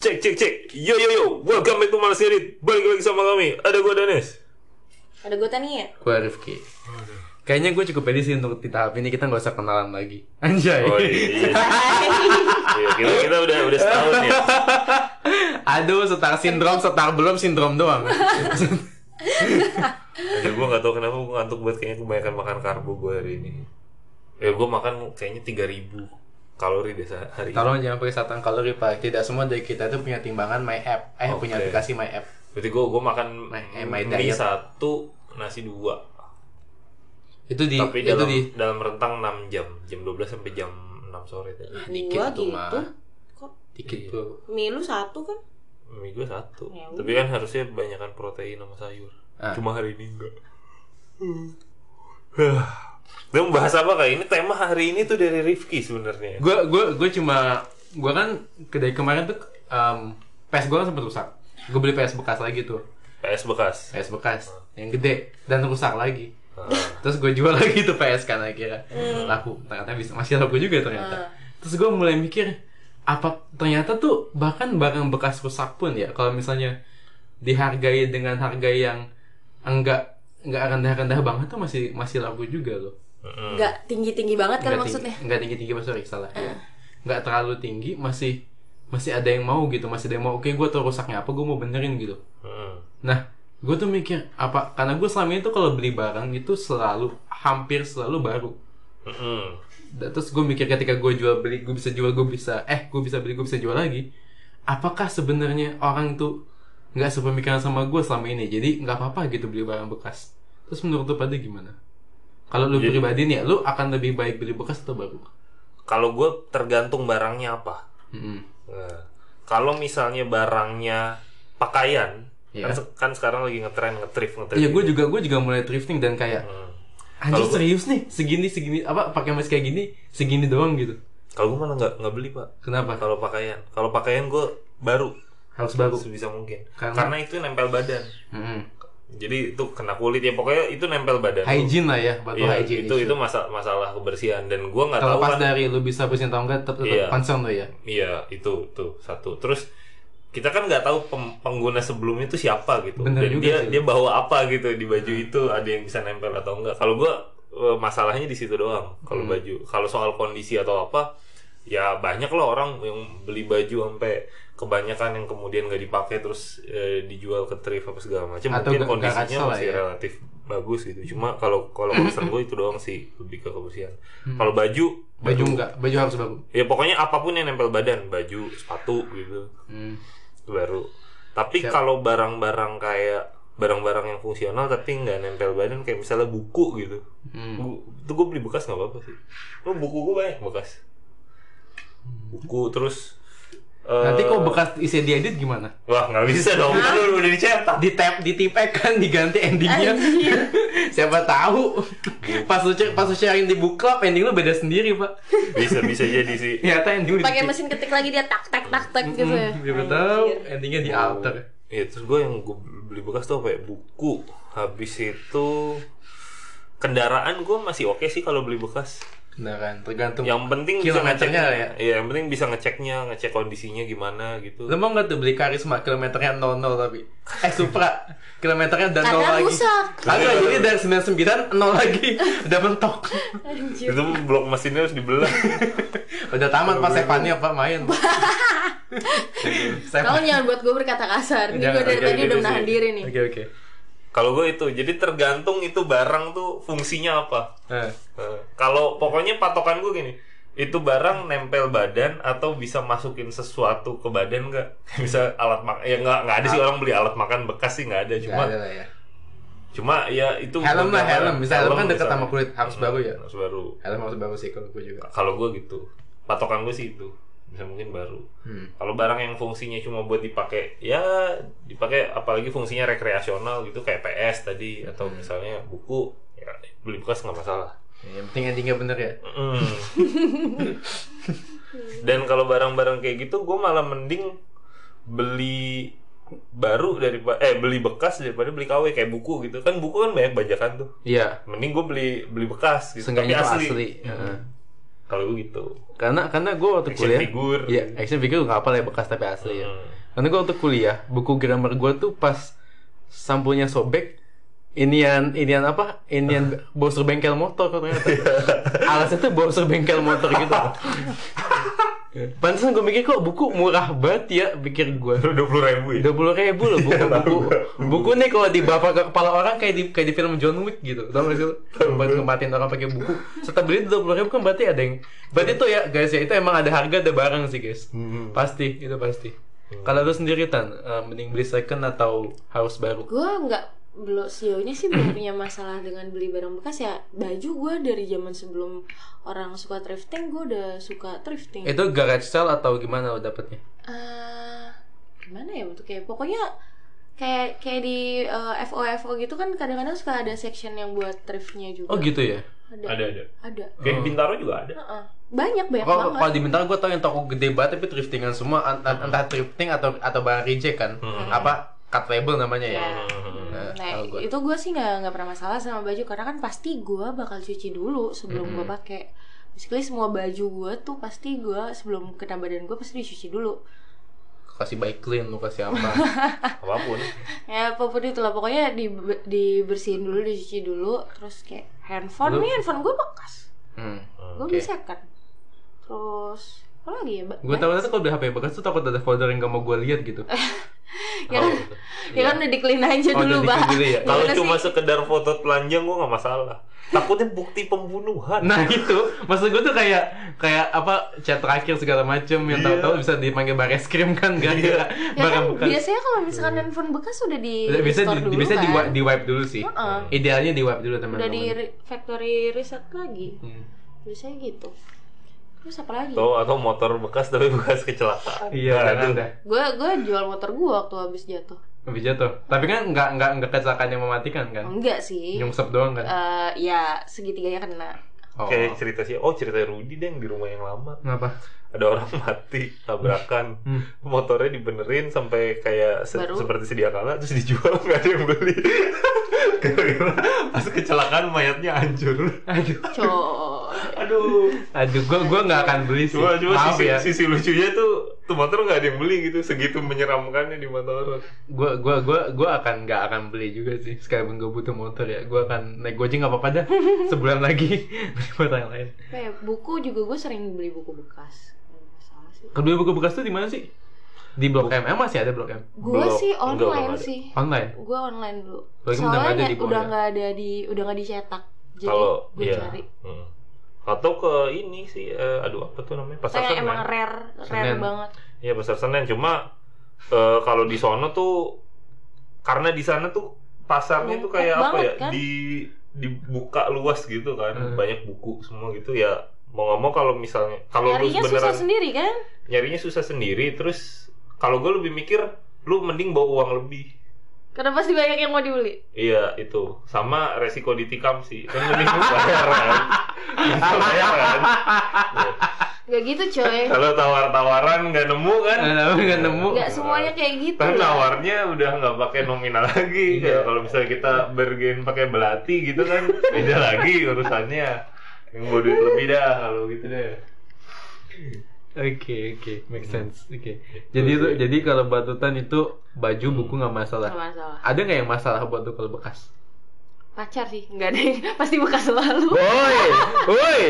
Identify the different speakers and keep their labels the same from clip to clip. Speaker 1: Cek, cek, cek. Yo, yo, yo. Welcome back to Malas Ngedit. Balik lagi sama kami. Ada gue Danes.
Speaker 2: Ada ya? gue Tania.
Speaker 3: Gue Rifki Kayaknya gue cukup pede sih untuk di tahap ini kita nggak usah kenalan lagi Anjay
Speaker 1: Oh, iya. Iya, kita, kita udah udah setahun ya.
Speaker 3: Aduh setara sindrom setara belum sindrom doang
Speaker 1: Aduh, gue gak tau kenapa gue ngantuk banget. Kayaknya kebanyakan makan karbo gue hari ini. Ya, gue makan kayaknya 3000 kalori deh se- hari ini.
Speaker 3: Tolong jangan pakai satuan kalori pak Tidak semua dari kita itu punya timbangan my app Eh punya
Speaker 1: Oke.
Speaker 3: aplikasi my app
Speaker 1: Berarti gue gue makan
Speaker 3: My- eh, my
Speaker 1: mie
Speaker 3: diet.
Speaker 1: satu, nasi dua.
Speaker 3: Itu di
Speaker 1: Tapi
Speaker 3: itu
Speaker 1: dalam,
Speaker 3: di
Speaker 1: dalam rentang 6 jam. Jam 12 sampai jam 6 sore tadi.
Speaker 3: Nah, dikit
Speaker 2: Dua
Speaker 3: tuh,
Speaker 2: gitu.
Speaker 3: Ma.
Speaker 2: Kok
Speaker 3: dikit
Speaker 1: Iya.
Speaker 3: tuh
Speaker 2: mie lu satu kan?
Speaker 1: Mie gue satu.
Speaker 2: Ya
Speaker 1: Tapi kan harusnya kebanyakan protein sama sayur.
Speaker 3: Ah.
Speaker 1: Cuma hari ini enggak. Dia membahas apa kayak ini? Tema hari ini tuh dari Rifki sebenarnya.
Speaker 3: Gue gue gue cuma gue kan dari kemarin tuh em, PS gue kan sempat rusak Gue beli PS bekas lagi tuh
Speaker 1: PS bekas.
Speaker 3: PS bekas yang gede dan rusak lagi
Speaker 1: Ah.
Speaker 3: terus gue jual lagi tuh PS kan akhirnya laku ternyata bisa masih laku juga ternyata terus gue mulai mikir apa ternyata tuh bahkan barang bekas rusak pun ya kalau misalnya dihargai dengan harga yang enggak enggak rendah-rendah banget tuh masih masih laku juga loh Hmm.
Speaker 1: Mm-mm.
Speaker 2: Nggak tinggi-tinggi banget kan
Speaker 3: Enggak
Speaker 2: maksudnya?
Speaker 3: tinggi, enggak tinggi-tinggi Mas, sorry salah ya. Enggak terlalu tinggi masih masih ada yang mau gitu masih ada yang mau oke gue tau rusaknya apa gue mau benerin gitu
Speaker 1: Mm-mm.
Speaker 3: Nah, gue tuh mikir apa? Karena gue selama itu kalau beli barang itu selalu hampir selalu baru.
Speaker 1: Mm-mm.
Speaker 3: Dan terus gue mikir ketika gue jual beli, gue bisa jual, gue bisa eh gue bisa beli, gue bisa jual lagi. Apakah sebenarnya orang tuh nggak sepemikiran sama gue selama ini? Jadi nggak apa-apa gitu beli barang bekas. Terus menurut lu pada gimana? Kalau lu
Speaker 1: Jadi-
Speaker 3: pribadi nih, lu akan lebih baik beli bekas atau baru?
Speaker 1: Kalau gue tergantung barangnya apa.
Speaker 3: Mm-mm.
Speaker 1: Nah, kalau misalnya barangnya pakaian,
Speaker 3: Iya.
Speaker 1: kan, se- kan sekarang lagi ngetren ngetrif ngetrif.
Speaker 3: Iya, gue juga gue juga mulai thrifting dan kayak
Speaker 1: Mm.
Speaker 3: anjir
Speaker 1: Kalau gua-
Speaker 3: serius nih segini segini apa pakai mas kayak gini segini doang gitu.
Speaker 1: Kalau gue malah nggak nggak beli pak.
Speaker 3: Kenapa?
Speaker 1: Kalau pakaian, kalau pakaian gue baru
Speaker 3: Harus baru.
Speaker 1: sebisa mungkin.
Speaker 3: Karena-
Speaker 1: Karena itu nempel badan. Hmm.
Speaker 3: Mm-mm.
Speaker 1: Jadi itu kena kulit ya pokoknya itu nempel badan. lu.
Speaker 3: hygiene lah ya batu
Speaker 1: Iya,
Speaker 3: hygiene
Speaker 1: itu itu masa- masalah kebersihan dan gua nggak tahu
Speaker 3: terlepas
Speaker 1: kan
Speaker 3: dari lu bisa bersihin atau enggak tetap
Speaker 1: Iya.
Speaker 3: tetap concern lo ya
Speaker 1: iya itu tuh satu terus kita kan nggak tahu pem- pengguna sebelumnya itu siapa gitu
Speaker 3: Bener
Speaker 1: dan
Speaker 3: juga
Speaker 1: dia
Speaker 3: sih.
Speaker 1: dia bawa apa gitu di baju itu ada yang bisa nempel atau enggak kalau gua eh, masalahnya di situ doang
Speaker 3: Hmm.
Speaker 1: kalau baju kalau soal kondisi atau apa ya banyak loh orang yang beli baju sampai kebanyakan yang kemudian nggak dipakai terus eh, dijual ke thrift apa segala macam mungkin
Speaker 3: Atau nggak- nggak
Speaker 1: kondisinya
Speaker 3: kacau lah
Speaker 1: masih
Speaker 3: ya.
Speaker 1: relatif bagus gitu cuma kalau kalau concern gue itu doang sih lebih ke kebersihan
Speaker 3: Hmm.
Speaker 1: kalau baju
Speaker 3: baju enggak baju harus baru
Speaker 1: ya pokoknya apapun yang nempel badan baju sepatu gitu
Speaker 3: hmm.
Speaker 1: itu baru tapi
Speaker 3: Siap.
Speaker 1: kalau barang-barang kayak barang-barang yang fungsional tapi nggak nempel badan kayak misalnya buku gitu
Speaker 3: Hmm.
Speaker 1: Bu- itu gue beli bekas nggak apa-apa sih lo buku gue banyak bekas buku terus eh,
Speaker 3: nanti kok bekas isi diedit gimana
Speaker 1: wah nggak bisa dong kan udah udah dicetak
Speaker 3: di tap di tipek kan diganti endingnya siapa tahu
Speaker 1: Iya.
Speaker 3: pas lu cek pas lu sharing di book club ending lu beda sendiri pak
Speaker 1: bisa bisa jadi sih
Speaker 3: ternyata ending lu di
Speaker 2: Pakai
Speaker 3: tipek.
Speaker 2: mesin ketik lagi dia tak tak tak tak gitu ya.
Speaker 3: Hmm, siapa tahu
Speaker 2: Anjir.
Speaker 3: endingnya di alter
Speaker 1: Iya terus gue yang gue beli bekas tuh apa ya buku habis itu kendaraan gue masih oke sih kalau beli bekas
Speaker 3: beneran tergantung
Speaker 1: yang penting bisa
Speaker 3: kilometernya
Speaker 1: ngeceknya
Speaker 3: lah ya
Speaker 1: Iya, yang penting bisa ngeceknya ngecek kondisinya gimana gitu
Speaker 3: lu mau nggak tuh beli karisma kilometernya 00 tapi eh supra kilometernya dan nol
Speaker 2: Karena
Speaker 3: lagi
Speaker 2: rusak.
Speaker 3: Kagak, jadi dari 99 nol lagi udah mentok.
Speaker 2: Anjir.
Speaker 1: itu blok mesinnya harus dibelah
Speaker 3: Udah tamat pas Stefannya apa main.
Speaker 2: Tolong
Speaker 3: Stefan.
Speaker 2: jangan buat gue berkata kasar. Ini
Speaker 3: Jangan,
Speaker 2: gue dari
Speaker 1: jangan gitu
Speaker 2: tadi udah
Speaker 1: sih.
Speaker 2: menahan diri nih.
Speaker 3: Oke oke.
Speaker 1: kalau gue itu jadi tergantung itu barang tuh fungsinya apa
Speaker 3: Eh,
Speaker 1: Eh, kalau pokoknya patokan gue gini itu barang nempel badan atau bisa masukin sesuatu ke badan nggak bisa alat makan ya nggak nggak ada sih orang beli alat makan bekas sih nggak ada
Speaker 3: Ah. nggak
Speaker 1: cuma
Speaker 3: ada lah ya.
Speaker 1: cuma ya itu
Speaker 3: Helm lah,
Speaker 1: beberapa-
Speaker 3: helm. Bisa helm kan dekat
Speaker 1: bisa.
Speaker 3: sama kulit, harus baru ya.
Speaker 1: harus baru
Speaker 3: Helm harus bagus sih kalau gue juga.
Speaker 1: kalau gue gitu patokan gue sih itu bisa mungkin baru
Speaker 3: Hmm.
Speaker 1: kalau barang yang fungsinya cuma buat dipakai ya dipakai apalagi fungsinya rekreasional gitu kayak PS tadi atau
Speaker 3: Hmm.
Speaker 1: misalnya buku ya beli bekas nggak masalah
Speaker 3: Yang penting endingnya bener ya.
Speaker 1: Mm. dan kalau barang-barang kayak gitu gue malah mending beli baru daripada eh beli bekas daripada beli KW kayak buku gitu kan buku kan banyak bajakan tuh
Speaker 3: Iya.
Speaker 1: mending gue beli beli bekas gitu
Speaker 3: Seenggaknya itu asli. Heeh.
Speaker 1: kalau gue gitu
Speaker 3: Karena karena gue waktu
Speaker 1: Action
Speaker 3: kuliah
Speaker 1: figure.
Speaker 3: Iya, action figure gak apa lah ya bekas tapi asli ya.
Speaker 1: Mm.
Speaker 3: Karena gue waktu kuliah, buku grammar gue tuh pas sampulnya sobek, inian inian apa? Inian boser bengkel motor ternyata. Alasnya tuh boser bengkel motor gitu. Pantesan gue mikir kok buku murah banget ya pikir gue
Speaker 1: dua puluh ribu ya
Speaker 3: dua puluh ribu loh
Speaker 1: Iya,
Speaker 3: buku buku buku nih kalau dibawa ke kepala orang kayak di kayak di film John Wick gitu tau gak sih lu? buat ngematin orang pakai buku serta beli dua puluh ribu kan berarti ada yang berarti itu ya guys ya itu emang ada harga ada barang sih guys
Speaker 1: Hmm.
Speaker 3: pasti itu pasti kalau lu sendiri tan eh, mending beli second atau harus baru
Speaker 2: Gue nggak belum sejauh ini sih belum punya masalah dengan beli barang bekas ya baju gue dari zaman sebelum orang suka thrifting gue udah suka thrifting
Speaker 3: itu garage sale atau gimana lo dapetnya
Speaker 2: Eh, gimana ya bentuknya pokoknya kayak kayak di eh, FO FO gitu kan kadang-kadang suka ada section yang buat thriftnya juga
Speaker 3: oh gitu ya
Speaker 2: ada
Speaker 1: ada ada
Speaker 2: ada
Speaker 3: Oh.
Speaker 1: kayak di Bintaro juga ada
Speaker 2: Heeh. banyak banyak
Speaker 3: kalau
Speaker 2: banget
Speaker 3: kalau di Bintaro gue tau yang toko gede banget tapi thriftingan semua ent- entah thrifting atau atau barang reject kan
Speaker 1: Hmm.
Speaker 3: apa cut label namanya ya
Speaker 2: Ya.
Speaker 1: Hmm.
Speaker 2: Nah,
Speaker 3: Nah, kalau gua-
Speaker 2: itu gue sih nggak nggak pernah masalah sama baju karena kan pasti gue bakal cuci dulu sebelum gue pakai. Basically semua baju gue tuh pasti gue sebelum kena badan gue pasti dicuci dulu.
Speaker 3: kasih baik clean lu kasih apa Ah.
Speaker 1: apapun
Speaker 2: Ya apapun itu lah pokoknya di, dibersihin dulu, dicuci dulu, terus kayak handphone nih handphone gue bekas,
Speaker 3: hmm.
Speaker 2: gue
Speaker 3: Oke.
Speaker 2: bisa kan. Terus apa lagi ya? Ba-
Speaker 3: gue takutnya tuh kalau beli HP bekas tuh takut ada folder yang gak mau gue lihat gitu
Speaker 2: ya kan, ya kan udah di clean aja
Speaker 3: Oh,
Speaker 2: dulu
Speaker 3: udah di
Speaker 2: bah.
Speaker 3: clean dulu ya?
Speaker 1: kalau
Speaker 2: Gimana
Speaker 1: cuma
Speaker 2: sih?
Speaker 1: sekedar foto telanjang gue nggak masalah takutnya bukti pembunuhan
Speaker 3: nah itu maksud gue tuh kayak kayak apa chat terakhir segala macem yang
Speaker 1: Iya.
Speaker 3: tahu-tahu bisa dipanggil baris krim kan gak gara
Speaker 2: ya kan
Speaker 3: barang bekas
Speaker 2: biasanya kalau misalkan handphone bekas udah di
Speaker 3: Udah, bisa
Speaker 2: restore
Speaker 3: di,
Speaker 2: dulu
Speaker 3: bisa
Speaker 2: kan.
Speaker 3: di, wi- di wipe dulu sih
Speaker 2: Heeh.
Speaker 3: idealnya di wipe
Speaker 2: udah
Speaker 3: dulu
Speaker 2: di
Speaker 3: teman-teman
Speaker 2: re- factory reset lagi
Speaker 3: Hmm.
Speaker 2: biasanya gitu terus apa lagi
Speaker 1: atau Gitu, atau motor bekas tapi bekas kecelakaan
Speaker 3: iya
Speaker 1: Nah,
Speaker 3: jangan
Speaker 1: itu.
Speaker 3: dah
Speaker 2: gue gue jual motor gue waktu habis jatuh
Speaker 3: lebih jatuh tapi kan nggak nggak nggak kecelakaan yang mematikan kan
Speaker 2: enggak sih
Speaker 3: nyungsep doang kan
Speaker 2: Eh, ya segitiganya kena
Speaker 3: oh
Speaker 1: kayak cerita sih oh cerita Rudy deh yang di rumah yang lama
Speaker 3: ngapa
Speaker 1: ada orang mati tabrakan
Speaker 3: Hmm.
Speaker 1: motornya dibenerin sampai kayak se-
Speaker 2: Baru?
Speaker 1: seperti sedia kala terus dijual nggak ada yang beli Gara-gara pas kecelakaan mayatnya hancur
Speaker 3: aduh
Speaker 2: coy
Speaker 1: aduh
Speaker 3: aduh gue gua nggak akan beli sih
Speaker 1: cuma cuma
Speaker 3: maaf
Speaker 1: sisi,
Speaker 3: ya
Speaker 1: sisi lucunya tuh tuh motor nggak ada yang beli gitu segitu menyeramkannya di mata orang
Speaker 3: gua gua gua gua akan nggak akan beli juga sih sekalipun gue butuh motor ya gua akan naik gojek nggak apa-apa dah sebulan lagi beli motor yang lain
Speaker 2: Apa ya, buku juga gue sering beli buku bekas Nggak masalah sih
Speaker 3: kedua buku bekas tuh di mana sih di blok M emang masih ada blok M
Speaker 2: gue
Speaker 1: Belum.
Speaker 2: sih
Speaker 1: Enggak, belum
Speaker 2: online
Speaker 1: ada.
Speaker 2: sih
Speaker 3: online
Speaker 2: gue online dulu
Speaker 3: Lagi udah nggak ada
Speaker 2: soalnya
Speaker 3: di bawah
Speaker 2: udah
Speaker 3: ya?
Speaker 2: nggak ada di udah nggak dicetak jadi
Speaker 1: kalau
Speaker 2: gue
Speaker 1: ya
Speaker 2: cari
Speaker 1: hmm. atau ke ini sih eh, aduh apa tuh namanya pasar
Speaker 2: kayak
Speaker 1: senen
Speaker 2: emang rare rare
Speaker 3: Senen.
Speaker 2: banget
Speaker 1: Iya pasar senen cuma eh, kalau di sono tuh karena di sana tuh pasarnya tuh
Speaker 2: Numpuk
Speaker 1: kayak apa
Speaker 2: banget,
Speaker 1: ya
Speaker 2: kan?
Speaker 1: di dibuka luas gitu kan
Speaker 3: Hmm.
Speaker 1: banyak buku semua gitu ya mau nggak mau kalau misalnya kalau lu
Speaker 2: nyarinya susah
Speaker 1: beneran
Speaker 2: sendiri kan
Speaker 1: nyarinya susah sendiri terus kalau gue lebih mikir lu mending bawa uang lebih
Speaker 2: karena pasti banyak yang mau dibeli
Speaker 1: Iya itu sama resiko ditikam sih. Kan mending lu bayaran. Mending kan? bayaran.
Speaker 2: nggak gitu coy
Speaker 1: Kalau tawar-tawaran nggak nemu kan?
Speaker 3: Nah, nggak nemu
Speaker 2: Nggak semuanya kayak gitu.
Speaker 1: Kan
Speaker 2: ya.
Speaker 1: nawarnya udah nggak pakai nominal lagi.
Speaker 3: Iya.
Speaker 1: Kalau misalnya kita bergen pakai belati gitu kan beda lagi urusannya. Yang mau duit lebih dah kalau gitu deh.
Speaker 3: oke oke make sense oke eh. Hmm. jadi itu jadi kalau batutan itu baju buku nggak masalah
Speaker 2: Nggak masalah.
Speaker 3: ada nggak yang masalah buat tuh kalau bekas
Speaker 2: Pacar sih, nggak deh. Pasti bekas selalu.
Speaker 3: woi woi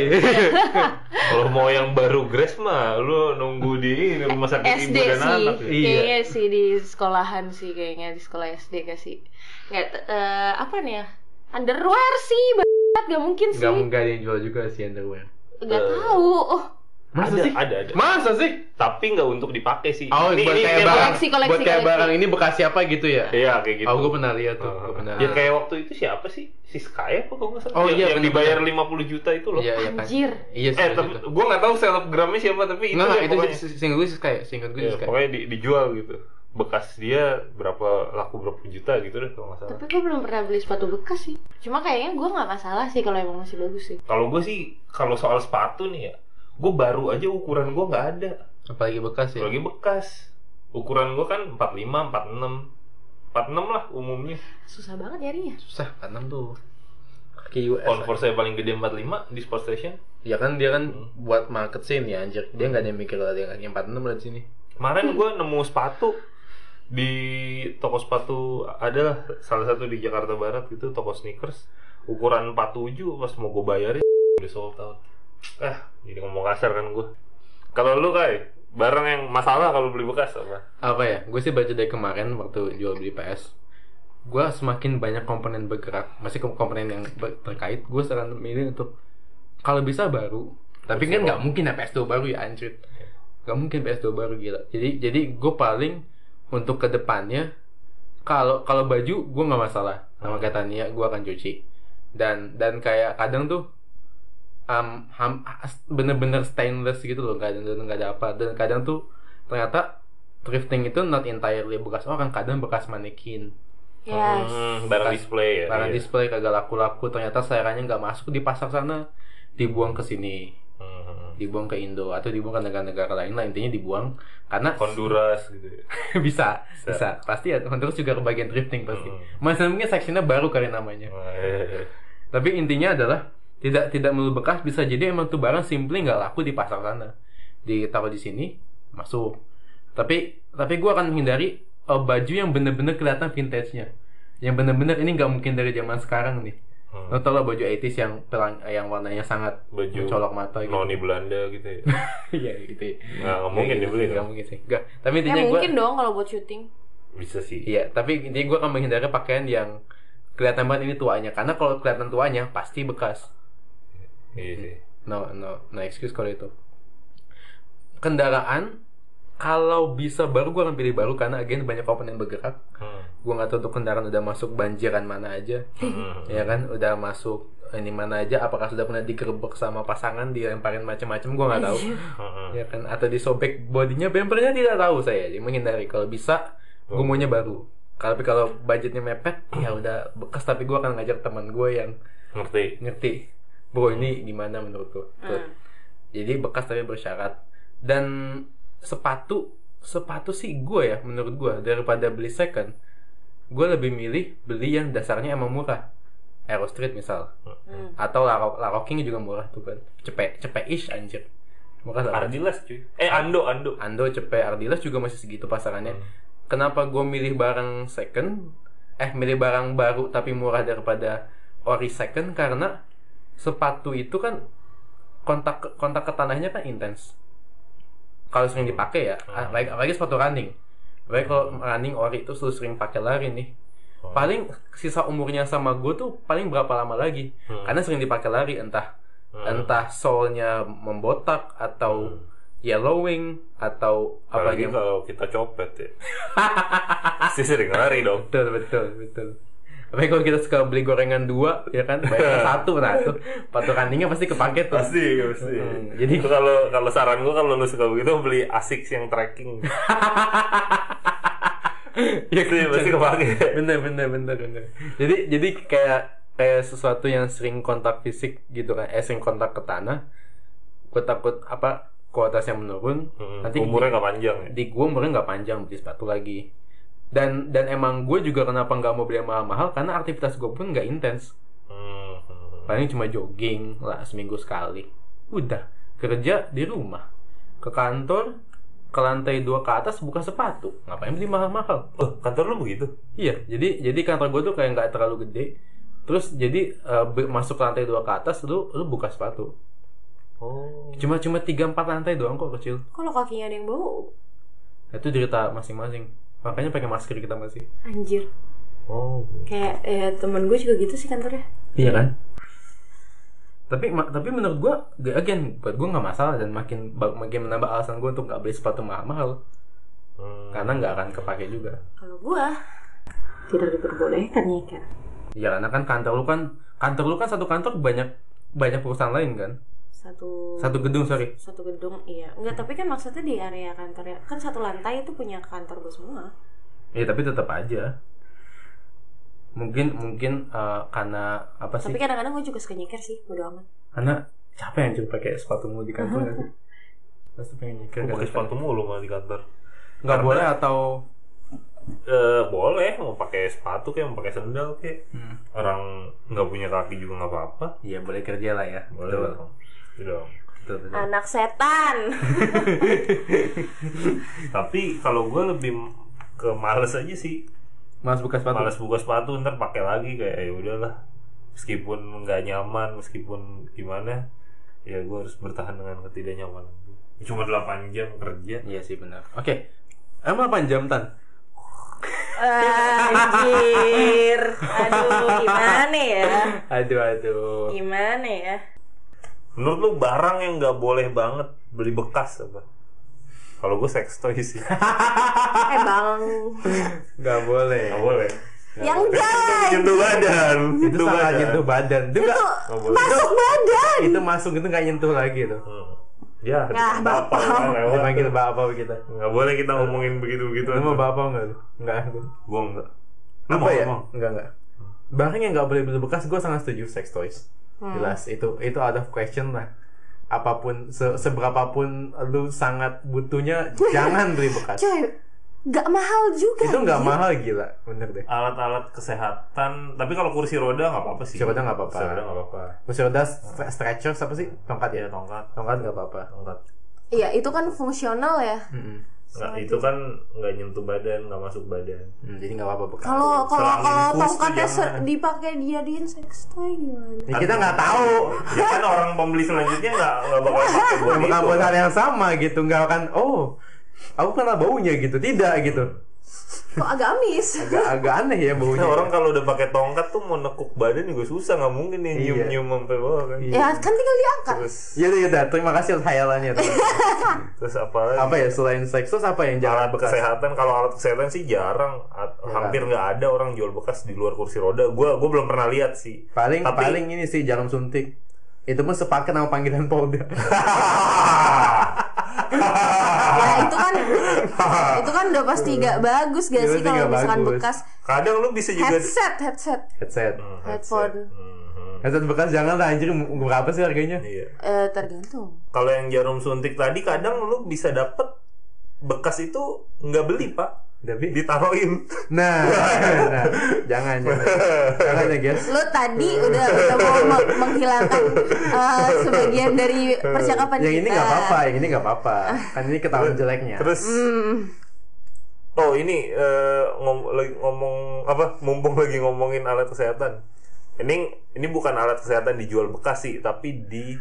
Speaker 1: Kalau mau yang baru grass mah lu nunggu di ini, rumah sakit
Speaker 2: SD
Speaker 1: ibu dan
Speaker 2: sih,
Speaker 1: anak. ya.
Speaker 3: Iya.
Speaker 2: kayaknya sih di sekolahan sih kayaknya di sekolah SD gak sih? Nggak, t- eh, apa nih ya? Underwear sih, banget gak mungkin sih.
Speaker 3: nggak nggak ada yang jual juga sih underwear
Speaker 2: Gak
Speaker 1: Eh.
Speaker 2: tahu. Oh,
Speaker 3: masa
Speaker 1: Ada,
Speaker 3: sih
Speaker 1: ada, ada.
Speaker 3: masa sih
Speaker 1: Tapi nggak untuk dipakai sih.
Speaker 3: Oh,
Speaker 1: Ini-
Speaker 3: buat
Speaker 1: ini
Speaker 3: kayak
Speaker 1: kayak
Speaker 3: barang,
Speaker 2: koleksi, koleksi,
Speaker 3: buat kayak
Speaker 2: koleksi.
Speaker 3: barang ini bekas siapa gitu ya?
Speaker 1: Iya kayak gitu.
Speaker 3: Oh, gue pernah lihat tuh, gue pernah
Speaker 1: Ya
Speaker 3: lihat.
Speaker 1: kayak waktu itu siapa sih? Si Sky apa kalau nggak salah?
Speaker 3: Oh,
Speaker 1: Yang-
Speaker 3: iya,
Speaker 1: yang dibayar
Speaker 3: bener-bener.
Speaker 1: 50 juta itu loh.
Speaker 3: Iya, iya kan.
Speaker 2: Anjir.
Speaker 3: Iya sih.
Speaker 1: Eh, tapi gue nggak tahu selebgramnya siapa tapi itu
Speaker 3: Enggak,
Speaker 1: deh
Speaker 3: itu
Speaker 1: pokoknya.
Speaker 3: singkat gue sih kayak singkat gue
Speaker 1: Iya,
Speaker 3: sih kayak.
Speaker 1: pokoknya di- dijual gitu. Bekas dia berapa laku berapa juta gitu deh kalau nggak salah.
Speaker 2: Tapi gue belum pernah beli sepatu bekas sih. Cuma kayaknya gue nggak masalah sih kalau emang masih bagus sih.
Speaker 1: Kalau gue sih kalau soal sepatu nih ya, gue baru aja ukuran gue nggak ada.
Speaker 3: Apalagi bekas ya.
Speaker 1: Apalagi bekas. Ukuran gue kan 45, 46. 46 lah umumnya.
Speaker 2: Susah banget nyarinya.
Speaker 3: Susah kan tuh. Kaki US.
Speaker 1: Converse saya paling gede 45 di Sport Station.
Speaker 3: Ya kan dia kan Hmm. buat market scene ya anjir. Dia nggak ada yang mikir ada yang kaki 46 lah di sini.
Speaker 1: Kemarin gue nemu sepatu di toko sepatu adalah salah satu di Jakarta Barat gitu toko sneakers ukuran 47 pas mau gue bayarin udah sold out ah jadi ngomong kasar kan gue kalau lu kai barang yang masalah kalau beli bekas apa
Speaker 3: apa ya gue sih baca dari kemarin waktu jual beli PS gue semakin banyak komponen bergerak masih kom- komponen yang ber- terkait gue saran milih untuk kalau bisa baru tapi kan nggak mungkin ya PS2 baru ya anjir nggak mungkin PS2 baru gila jadi jadi gue paling untuk kedepannya kalau kalau baju gue nggak masalah sama kata Nia gue akan cuci dan dan kayak kadang tuh um, ham- bener-bener stainless gitu loh nggak ada nggak ada apa dan kadang tuh ternyata thrifting itu not entirely bekas orang kadang bekas manekin
Speaker 2: Yes.
Speaker 1: Hmm, barang display ya
Speaker 3: barang
Speaker 1: iya.
Speaker 3: display kagak laku-laku ternyata sayarannya nggak masuk di pasar sana dibuang ke sini
Speaker 1: Hmm, hmm, hmm.
Speaker 3: dibuang ke Indo atau dibuang ke negara-negara lain lah intinya dibuang karena
Speaker 1: Honduras gitu ya.
Speaker 3: Iya, bisa bisa pasti ya Honduras juga kebagian drifting pasti Iya.
Speaker 1: Hmm.
Speaker 3: Masa mungkin sectionnya baru kali namanya
Speaker 1: Wah, eh, eh.
Speaker 3: tapi intinya adalah tidak tidak melulu bekas bisa jadi emang tuh barang simply nggak laku di pasar sana ditaruh di sini masuk tapi tapi gue akan menghindari eh, baju yang bener-bener kelihatan vintage-nya yang bener-bener ini nggak mungkin dari zaman sekarang nih
Speaker 1: Hmm.
Speaker 3: Lo tau lah baju 80s yang pelang, yang warnanya sangat
Speaker 1: Baju
Speaker 3: mencolok mata gitu.
Speaker 1: noni Belanda gitu ya
Speaker 3: Iya gitu.
Speaker 1: nggak nggak mungkin dibeli
Speaker 3: Gak
Speaker 1: dong
Speaker 3: mungkin sih. Gak. Tapi
Speaker 2: Ya
Speaker 3: intinya gue
Speaker 2: mungkin dong kalau buat syuting.
Speaker 1: bisa sih
Speaker 3: Iya, tapi intinya gue akan menghindari pakaian yang kelihatan banget ini tuanya karena kalau kelihatan tuanya pasti bekas.
Speaker 1: iya sih
Speaker 3: No, no, no excuse kalau itu. Kendaraan kalau bisa baru gue akan pilih baru karena again banyak komponen bergerak.
Speaker 1: Hmm.
Speaker 3: Gue nggak tahu tuh kendaraan udah masuk banjiran mana aja.
Speaker 1: Hmm.
Speaker 3: ya kan udah masuk ini mana aja apakah sudah pernah digerebek sama pasangan dilemparin macam-macam gua nggak tahu
Speaker 1: Hmm.
Speaker 3: ya kan atau disobek bodinya bempernya tidak tahu saya jadi menghindari kalau bisa gue maunya baru kalau tapi kalau budgetnya mepet ya udah bekas tapi gua akan ngajak teman gue yang
Speaker 1: ngerti
Speaker 3: ngerti bro ini gimana menurut lo Tuh. jadi bekas tapi bersyarat dan sepatu sepatu sih gue ya menurut gue daripada beli second gue lebih milih beli yang dasarnya emang murah Aero Street misal
Speaker 2: Hmm.
Speaker 3: atau Laro, Laro King juga murah tuh kan cepet cepet ish anjir murah lah
Speaker 1: Ardilas cuy eh
Speaker 3: Ah.
Speaker 1: Ando Ando
Speaker 3: Ando cepet Ardiles juga masih segitu pasarannya
Speaker 1: Hmm.
Speaker 3: kenapa gue milih barang second eh milih barang baru tapi murah daripada ori second karena sepatu itu kan kontak ke- kontak ke tanahnya kan intens kalau sering dipakai ya
Speaker 1: Hmm.
Speaker 3: apalagi, apalagi sepatu running apalagi kalau running ori itu selalu sering pakai lari nih
Speaker 1: Hmm.
Speaker 3: paling sisa umurnya sama gue tuh paling berapa lama lagi
Speaker 1: Hmm.
Speaker 3: karena sering dipakai lari entah
Speaker 1: Hmm.
Speaker 3: entah solnya membotak atau yellowing atau apa
Speaker 1: apalagi
Speaker 3: yang
Speaker 1: kalau kita copet ya pasti sering lari dong
Speaker 3: betul betul betul tapi kalau kita suka beli gorengan dua ya kan bayar satu nah tuh patu kandingnya pasti kepake tuh
Speaker 1: pasti pasti
Speaker 3: Hmm,
Speaker 1: jadi
Speaker 3: jadi-
Speaker 1: kalau kalau saran gua kalau lu suka begitu beli asik yang tracking
Speaker 3: ya
Speaker 1: pasti pasti kepake
Speaker 3: bener bener bener bener jadi jadi kayak kayak sesuatu yang sering kontak fisik gitu kan eh sering kontak ke tanah gue takut apa kualitasnya menurun
Speaker 1: Hmm,
Speaker 3: nanti
Speaker 1: umurnya nggak panjang ya
Speaker 3: di gue umurnya nggak panjang beli sepatu lagi dan dan emang gue juga kenapa nggak mau beli yang mahal-mahal karena aktivitas gue pun nggak intens
Speaker 1: Hmm, hmm.
Speaker 3: paling cuma jogging lah seminggu sekali udah kerja di rumah ke kantor ke lantai dua ke atas buka sepatu ngapain beli mahal-mahal
Speaker 1: Loh, Oh, kantor lu begitu
Speaker 3: iya jadi jadi kantor gue tuh kayak nggak terlalu gede terus jadi eh, be- masuk ke lantai dua ke atas lu lu buka sepatu
Speaker 1: oh
Speaker 3: cuma cuma tiga empat lantai doang kok kecil
Speaker 2: Kalau Hmm. kakinya ada yang bau,
Speaker 3: itu cerita masing-masing makanya pakai masker kita masih
Speaker 2: anjir.
Speaker 1: oh
Speaker 2: Kayak eh, temen gue juga gitu sih kantornya.
Speaker 3: Iya kan? Tapi ma- tapi menurut gua, gak- again buat gua nggak masalah dan makin ba- makin menambah alasan gua untuk nggak beli sepatu mahal-mahal
Speaker 1: Hmm.
Speaker 3: karena nggak akan kepake juga.
Speaker 2: Kalau gue tidak diperbolehkan ya kan.
Speaker 3: Iya karena kan kantor lu kan kantor lu kan satu kantor banyak banyak perusahaan lain kan?
Speaker 2: Satu
Speaker 3: Satu gedung sorry.
Speaker 2: satu gedung iya enggak tapi kan maksudnya di area kantornya kan satu lantai itu punya kantor gue semua
Speaker 3: Iya tapi tetap aja. Mungkin mungkin eh, karena apa sih?
Speaker 2: tapi kan- kadang-kadang gue juga suka nyeker sih bodo amat
Speaker 3: Karena capek yang cuma pakai sepatu mulu di kantor nggak sih? Terus tuh pengen nyeker
Speaker 1: Gua pakai
Speaker 3: nggak
Speaker 1: sepatu mulu malah di kantor
Speaker 3: Nggak
Speaker 1: Karena- ya?
Speaker 3: boleh atau
Speaker 1: eh boleh mau pakai sepatu kayak mau pakai sendal kayak
Speaker 3: Hmm.
Speaker 1: orang nggak punya kaki juga nggak apa-apa
Speaker 3: Iya boleh kerja lah ya.
Speaker 1: boleh
Speaker 3: Betul,
Speaker 1: dong Iya dong
Speaker 3: betul, betul.
Speaker 2: anak setan
Speaker 1: tapi kalau gue lebih ke males aja sih
Speaker 3: Mas buka sepatu.
Speaker 1: males buka sepatu ntar pakai lagi kayak ya udahlah meskipun nggak nyaman meskipun gimana ya gue harus bertahan dengan ketidaknyamanan gua. Ya cuma 8 jam kerja
Speaker 3: Iya sih benar. Oke. Emang apa jam tan?
Speaker 4: Anjir. Aduh, gimana ya?
Speaker 3: Aduh aduh.
Speaker 4: Gimana ya?
Speaker 1: menurut lu barang yang nggak boleh banget beli bekas apa kalau gue sex toy sih nggak
Speaker 4: Eh, Bang. Ya
Speaker 3: Gak boleh.
Speaker 1: boleh
Speaker 4: Yang jalan.
Speaker 1: nyentuh badan
Speaker 3: Itu salah nyentuh badan. Itu nggak-
Speaker 1: Nggak boleh
Speaker 4: Masuk badan.
Speaker 3: itu masuk itu nggak nyentuh lagi tuh.
Speaker 1: Hmm. ya
Speaker 4: Nah,
Speaker 1: bapak kan lewat
Speaker 3: Dipanggil bapak kita.
Speaker 1: nggak boleh kita ngomongin begitu begitu
Speaker 3: Lu mau bapak nggak lu? Nggak aku.
Speaker 1: gue enggak Lu
Speaker 3: Apa
Speaker 1: mau
Speaker 3: ya?
Speaker 1: ngomong?
Speaker 3: Enggak enggak. Barang yang nggak boleh beli bekas, gue sangat setuju sex toys. Jelas itu itu out of question lah. Apapun se- seberapapun lu sangat butuhnya, jangan beli bekas.
Speaker 4: Coy, gak mahal juga.
Speaker 3: itu nggak
Speaker 4: anjir.
Speaker 3: mahal gila, bener deh.
Speaker 1: alat-alat kesehatan tapi kalau kursi roda nggak apa-apa sih
Speaker 3: Kursi roda nggak apa-apa.
Speaker 1: kursi roda nggak apa-apa
Speaker 3: Kursi roda, stre- stretcher, apa sih? Tongkat ya?
Speaker 1: ya tongkat
Speaker 3: Tongkat nggak apa-apa.
Speaker 1: tongkat
Speaker 4: Iya, itu kan fungsional ya.
Speaker 3: Mm-mm.
Speaker 1: nggak itu kan nggak nyentuh badan nggak masuk badan
Speaker 3: Hmm, jadi nggak apa-apa bekas.
Speaker 4: Kalau kalau
Speaker 1: Selang
Speaker 4: kalau
Speaker 1: infus tuh
Speaker 4: tongkatnya
Speaker 1: jangan.
Speaker 4: ser- dipakai dijadiin sex toy gimana?
Speaker 3: Ya, kita nggak tahu.
Speaker 1: ya kan orang pembeli selanjutnya nggak nggak bakal pakai buat
Speaker 3: Bukan
Speaker 1: itu
Speaker 3: perusahaan yang sama gitu, nggak akan. Oh, aku kenal baunya gitu, tidak gitu.
Speaker 4: Kok agak amis?
Speaker 3: Agak agak aneh ya baunya.
Speaker 1: Nah, orang kalau udah pakai tongkat tuh mau nekuk badan juga susah nggak mungkin nih nyium
Speaker 3: Iya.
Speaker 1: nyium sampai bawah kan
Speaker 4: Ya kan tinggal diangkat.
Speaker 1: terus
Speaker 3: Yaudah, yaudah. Iya, Terima kasih atas hayalannya. teman.
Speaker 1: terus apa lagi?
Speaker 3: apa ya selain seks terus apa yang
Speaker 1: alat
Speaker 3: jangan bekas?
Speaker 1: kesehatan kalau alat kesehatan sih jarang At- hampir nggak ada orang jual bekas di luar kursi roda gua gua belum pernah lihat sih
Speaker 3: Paling
Speaker 1: Tapi-
Speaker 3: paling ini sih jarum suntik. Itu pun sepaket sama panggilan polda.
Speaker 4: Ya itu kan itu kan udah pasti gak bagus gak
Speaker 3: Itu
Speaker 4: sih
Speaker 3: Iya, pasti
Speaker 4: kalau
Speaker 3: nggak
Speaker 4: misalkan
Speaker 3: bagus.
Speaker 4: bekas
Speaker 1: kadang lu bisa juga
Speaker 4: headset headset
Speaker 3: Headset.
Speaker 1: Hmm,
Speaker 4: headphone
Speaker 1: Mhm,
Speaker 3: Headset bekas jangan lah anjir berapa sih harganya?
Speaker 1: iya.
Speaker 4: eh tergantung.
Speaker 1: kalau yang jarum suntik tadi kadang lu bisa dapet bekas itu nggak beli pak
Speaker 3: Tapi
Speaker 1: ditaruhin
Speaker 3: nah, nah, jangan jangan. Jangan ya, guys.
Speaker 4: Lo tadi udah udah mau me- menghilangkan eh, sebagian dari percakapan
Speaker 3: Yang
Speaker 4: kita.
Speaker 3: ini nggak apa-apa, yang ini nggak apa-apa. Kan ini ketahuan jeleknya.
Speaker 1: terus
Speaker 4: Hmm.
Speaker 1: oh ini eh, ngom- lagi ngomong apa mumpung lagi ngomongin alat kesehatan ini ini bukan alat kesehatan dijual bekas sih tapi di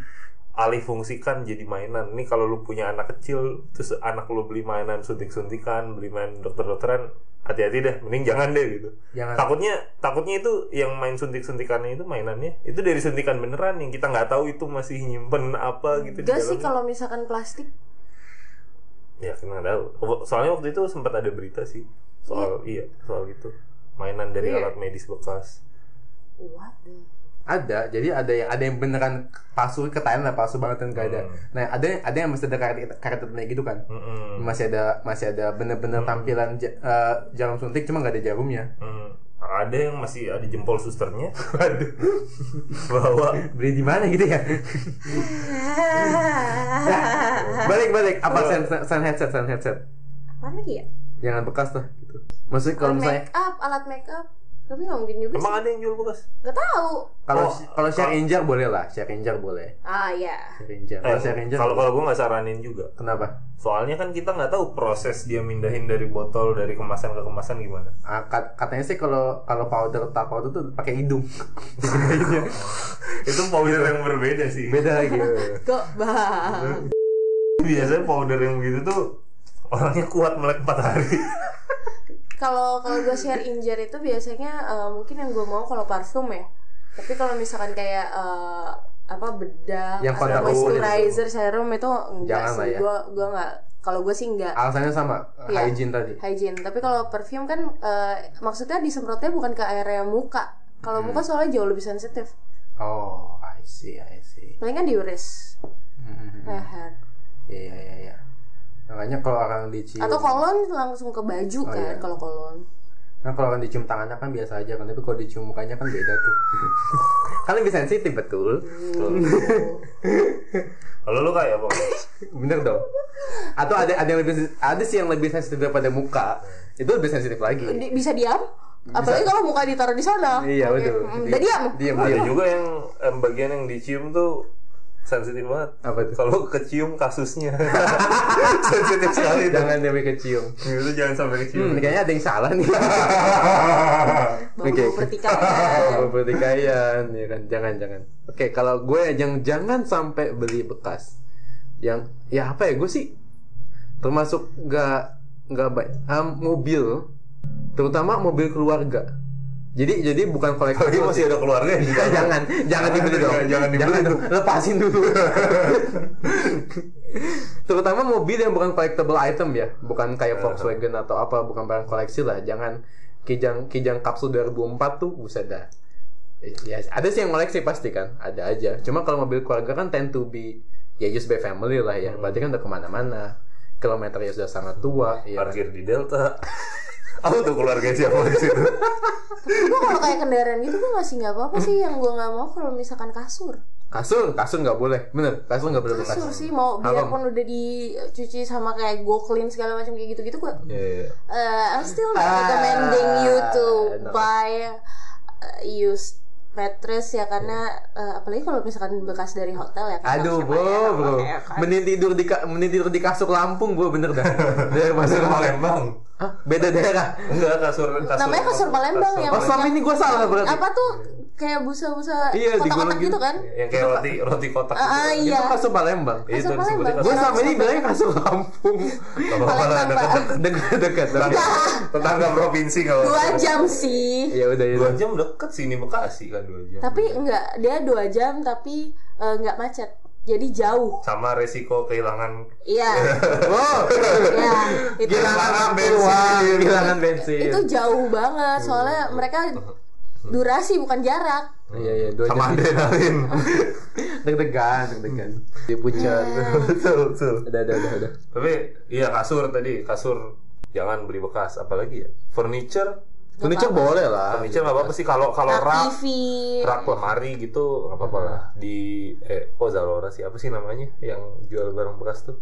Speaker 1: alih fungsikan jadi mainan ini kalau lu punya anak kecil terus anak lu beli mainan suntik-suntikan beli main dokter-dokteran hati-hati deh mending jangan deh gitu
Speaker 3: Jangan.
Speaker 1: takutnya takutnya itu yang main suntik-suntikannya itu mainannya itu dari suntikan beneran yang kita nggak tahu itu masih nyimpen apa gitu di
Speaker 2: Enggak sih
Speaker 1: dalamnya.
Speaker 2: kalau misalkan plastik
Speaker 1: Ya kan nggak tahu. Soalnya waktu itu sempat ada berita sih soal iya soal itu mainan dari alat medis bekas.
Speaker 2: what the
Speaker 3: Ada, jadi ada yang ada yang beneran palsu ketahuan lah palsu banget dan nggak ada. Nah, ada yang ada yang masih ada karet karet karetnya gitu kan.
Speaker 1: Mm-mm.
Speaker 3: Masih ada masih ada bener-bener tampilan ja- eh, jarum suntik cuma nggak ada jarumnya.
Speaker 1: Mm. Ada yang masih ada jempol susternya. Waduh. Bawa
Speaker 3: Beli di mana gitu ya? Nah, balik balik apa sen, sen- sen headset sen headset.
Speaker 4: Apa lagi ya?
Speaker 3: Jangan bekas lah gitu. Maksudnya kalau misalnya
Speaker 4: Make up, alat make up. Tapi nggak mungkin juga sih.
Speaker 1: Emang ada yang jual bekas?
Speaker 4: Gak tahu.
Speaker 3: kalau
Speaker 1: Oh,
Speaker 3: kalau share injak boleh lah, share injak boleh.
Speaker 4: Ah ya.
Speaker 3: Share injak. Eh, Kalau share injak
Speaker 1: Eh, Kalau kalau gue nggak saranin juga.
Speaker 3: kenapa?
Speaker 1: Soalnya kan kita nggak tahu proses dia mindahin dari botol dari kemasan ke kemasan gimana.
Speaker 3: Ah, kat- katanya sih kalau kalau powder tak powder tuh pakai hidung.
Speaker 1: itu powder yang berbeda sih.
Speaker 3: Beda gitu.
Speaker 4: Kok bang?
Speaker 1: Biasanya powder yang begitu tuh orangnya kuat melek 4 hari.
Speaker 2: kalau kalau gue share injer itu biasanya eh, mungkin yang gue mau kalau parfum ya tapi kalau misalkan kayak eh, apa bedak
Speaker 3: Yang
Speaker 2: atau
Speaker 3: kontak kulit.
Speaker 2: moisturizer serum itu enggak
Speaker 3: Jangan lah
Speaker 2: sih
Speaker 3: ya.
Speaker 2: gue gue nggak kalau gue sih enggak
Speaker 3: Alasannya sama,
Speaker 2: Iya.
Speaker 3: hygiene tadi.
Speaker 2: hygiene tapi kalau perfume kan eh, maksudnya disemprotnya bukan ke area muka kalau
Speaker 3: Hmm.
Speaker 2: muka soalnya jauh lebih sensitif
Speaker 3: Oh, I see, I see.
Speaker 2: paling kan di wrist
Speaker 3: Hmm,
Speaker 2: leher
Speaker 3: Iya, iya, iya. Makanya kalau orang dicium,
Speaker 2: atau kolon langsung ke baju
Speaker 3: Oh, iya.
Speaker 2: kan kalau kolon
Speaker 3: nah kalau orang dicium tangannya kan biasa aja kan, tapi kalau dicium mukanya kan beda tuh. kan lebih sensitif betul.
Speaker 1: Kalau lu kayak apa?
Speaker 3: Bener dong. Atau ada ada yang lebih sensi- ada sih yang lebih sensitif daripada muka. Itu lebih sensitif lagi.
Speaker 2: Di- bisa diam apalagi kalau muka ditaruh di sana
Speaker 3: Iya, betul.
Speaker 2: udah diam
Speaker 3: Diam,
Speaker 1: Ada
Speaker 3: diam.
Speaker 1: juga yang em, bagian yang dicium tuh sensitif banget.
Speaker 3: Apa itu?
Speaker 1: Kalau kecium kasusnya. sensitif sekali itu.
Speaker 3: Jangan sampai kecium.
Speaker 1: Itu Gitu, jangan sampai
Speaker 3: Hmm,
Speaker 1: kecium.
Speaker 3: kayaknya ada yang salah nih.
Speaker 2: Bawa
Speaker 3: Oke.
Speaker 2: pertikaian.
Speaker 3: Bawa pertikaian, ya kan? Jangan, jangan. Oke, kalau gue yang jangan sampai beli bekas. Yang ya apa ya gue sih termasuk nggak nggak baik Am, mobil terutama mobil keluarga jadi jadi bukan kolektor
Speaker 1: Apalagi Oh, iya, masih ada keluarga yang di
Speaker 3: Nah,
Speaker 1: dalam.
Speaker 3: jangan, jangan dibeli dong.
Speaker 1: Jangan, jangan dibeli
Speaker 3: dong. Lepasin dulu. Terutama mobil yang bukan collectible item ya, bukan kayak Volkswagen atau apa, bukan barang koleksi lah. Jangan kijang kijang kapsul 2004 tuh buset dah. Eh, Ya, ada sih yang koleksi pasti kan, ada aja. Cuma kalau mobil keluarga kan tend to be ya used by family lah ya. Berarti kan udah kemana-mana. Kilometernya sudah sangat tua. ya kan?
Speaker 1: Parkir di Delta. Apa tuh keluarga siapa di situ?
Speaker 2: Gue kalau kayak kendaraan gitu gue masih nggak apa-apa sih yang gue nggak mau kalau misalkan kasur.
Speaker 3: Kasur, kasur nggak boleh. Bener, kasur nggak boleh bekas.
Speaker 2: Kasur sih mau
Speaker 3: Haram.
Speaker 2: biarpun udah dicuci sama kayak go clean segala macam kayak gitu-gitu gue
Speaker 3: Iya, iya, iya.
Speaker 2: uh, I'm still not
Speaker 3: Ah,
Speaker 2: recommending you to
Speaker 3: no.
Speaker 2: buy uh, used mattress ya karena uh, apalagi kalau misalkan bekas dari hotel ya kan
Speaker 3: Aduh,
Speaker 2: siapa
Speaker 3: bro,
Speaker 2: yang nggak
Speaker 3: bro.
Speaker 2: pakai, ya kan?
Speaker 3: Mending tidur di ka- mending tidur di kasur Lampung, bro, bener dah.
Speaker 1: Masih
Speaker 3: Dari masuk
Speaker 1: ke
Speaker 3: Palembang.
Speaker 1: Palembang.
Speaker 3: Hah? Beda daerah.
Speaker 1: Enggak kasur kasur.
Speaker 2: Namanya kasur Palembang yang
Speaker 3: Oh, selama ini gua salah berarti.
Speaker 2: apa tuh kayak busa-busa
Speaker 3: Iya, digulung
Speaker 2: kotak-kotak
Speaker 3: gitu.
Speaker 2: gitu kan?
Speaker 1: yang kayak roti roti kotak. gitu.
Speaker 2: Ah, ah,
Speaker 3: Itu
Speaker 2: iya.
Speaker 3: kasur Palembang.
Speaker 1: Itu
Speaker 2: Kasur
Speaker 1: disebutnya
Speaker 2: Palembang.
Speaker 1: kasur.
Speaker 3: Gua selama ini bilangnya kasur Lampung.
Speaker 2: Palembang, Pak.
Speaker 3: Dekat-dekat.
Speaker 1: Tetangga provinsi kalau.
Speaker 2: Dua jam sih.
Speaker 3: Ya udah ya.
Speaker 1: Dua
Speaker 3: udah.
Speaker 1: jam deket sini Bekasi kan dua jam.
Speaker 2: Tapi enggak, dia dua jam tapi eh, enggak macet. Jadi jauh.
Speaker 1: sama resiko kehilangan
Speaker 2: Iya.
Speaker 3: Wow.
Speaker 2: Iya, itu
Speaker 1: Kehilangan
Speaker 3: Wah,
Speaker 1: bensin.
Speaker 3: kehilangan Oh! bensin.
Speaker 2: itu jauh banget soalnya mereka durasi bukan jarak.
Speaker 3: Iya, iya, dua
Speaker 1: sama
Speaker 3: jam.
Speaker 1: adrenalin.
Speaker 3: Deg-degan, deg-degan. Di puncak.
Speaker 1: betul, betul.
Speaker 3: Udah, udah, udah, udah.
Speaker 1: Tapi iya kasur tadi, kasur jangan beli bekas apalagi ya. Furniture,
Speaker 3: Furniture boleh lah.
Speaker 1: furniture nggak apa-apa sih kalau kalau
Speaker 2: Nah,
Speaker 1: rak
Speaker 2: TV.
Speaker 1: rak lemari gitu nggak apa-apa
Speaker 3: Nah.
Speaker 1: lah di eh kok Zalora sih apa sih namanya yang jual barang bekas tuh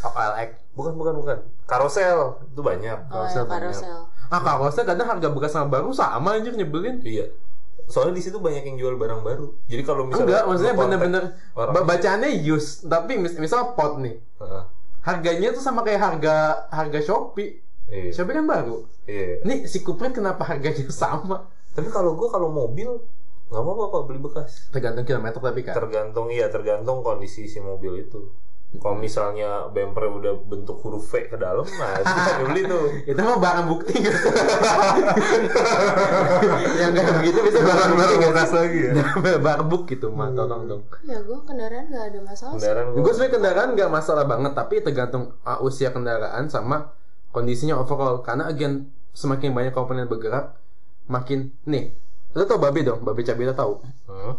Speaker 3: OLX.
Speaker 1: bukan bukan bukan karosel itu banyak
Speaker 2: Oh, ya, karosel.
Speaker 3: Ah, karosnya kadang harga bekas sama baru sama anjir nyebelin.
Speaker 1: iya soalnya di situ banyak yang jual barang baru jadi kalau misalnya
Speaker 3: Enggak, maksudnya
Speaker 1: lu kontak
Speaker 3: bener-bener
Speaker 1: orang-
Speaker 3: ba- bacaannya use, tapi mis misal pot nih.
Speaker 1: Heeh.
Speaker 3: Harganya tuh sama kayak harga harga Shopee.
Speaker 1: iya,
Speaker 3: Shopee kan baru.
Speaker 1: iya.
Speaker 3: Nih si Kupret kenapa harganya sama?
Speaker 1: tapi kalau gua kalau mobil nggak apa-apa Pak, beli bekas
Speaker 3: Tergantung kilometer tapi kan.
Speaker 1: tergantung iya tergantung kondisi si mobil itu kalau
Speaker 3: Hmm.
Speaker 1: misalnya bumper udah bentuk huruf V ke dalam nah itu bisa dibeli tuh
Speaker 3: Itu mah barang bukti kan. Yang kayak begitu bisa barang bukti kan.
Speaker 1: lagi
Speaker 3: barang bukti gitu mah, tolong dong.
Speaker 2: Ya gue kendaraan nggak ada masalah. sih.
Speaker 1: kendaraan
Speaker 3: Gue
Speaker 1: gua
Speaker 3: sebenarnya kendaraan nggak masalah banget, tapi tergantung uh, usia kendaraan sama kondisinya overall. Karena again semakin banyak komponen bergerak, makin nih. Lo tau babi dong, babi cabita tahu.
Speaker 1: Hmm?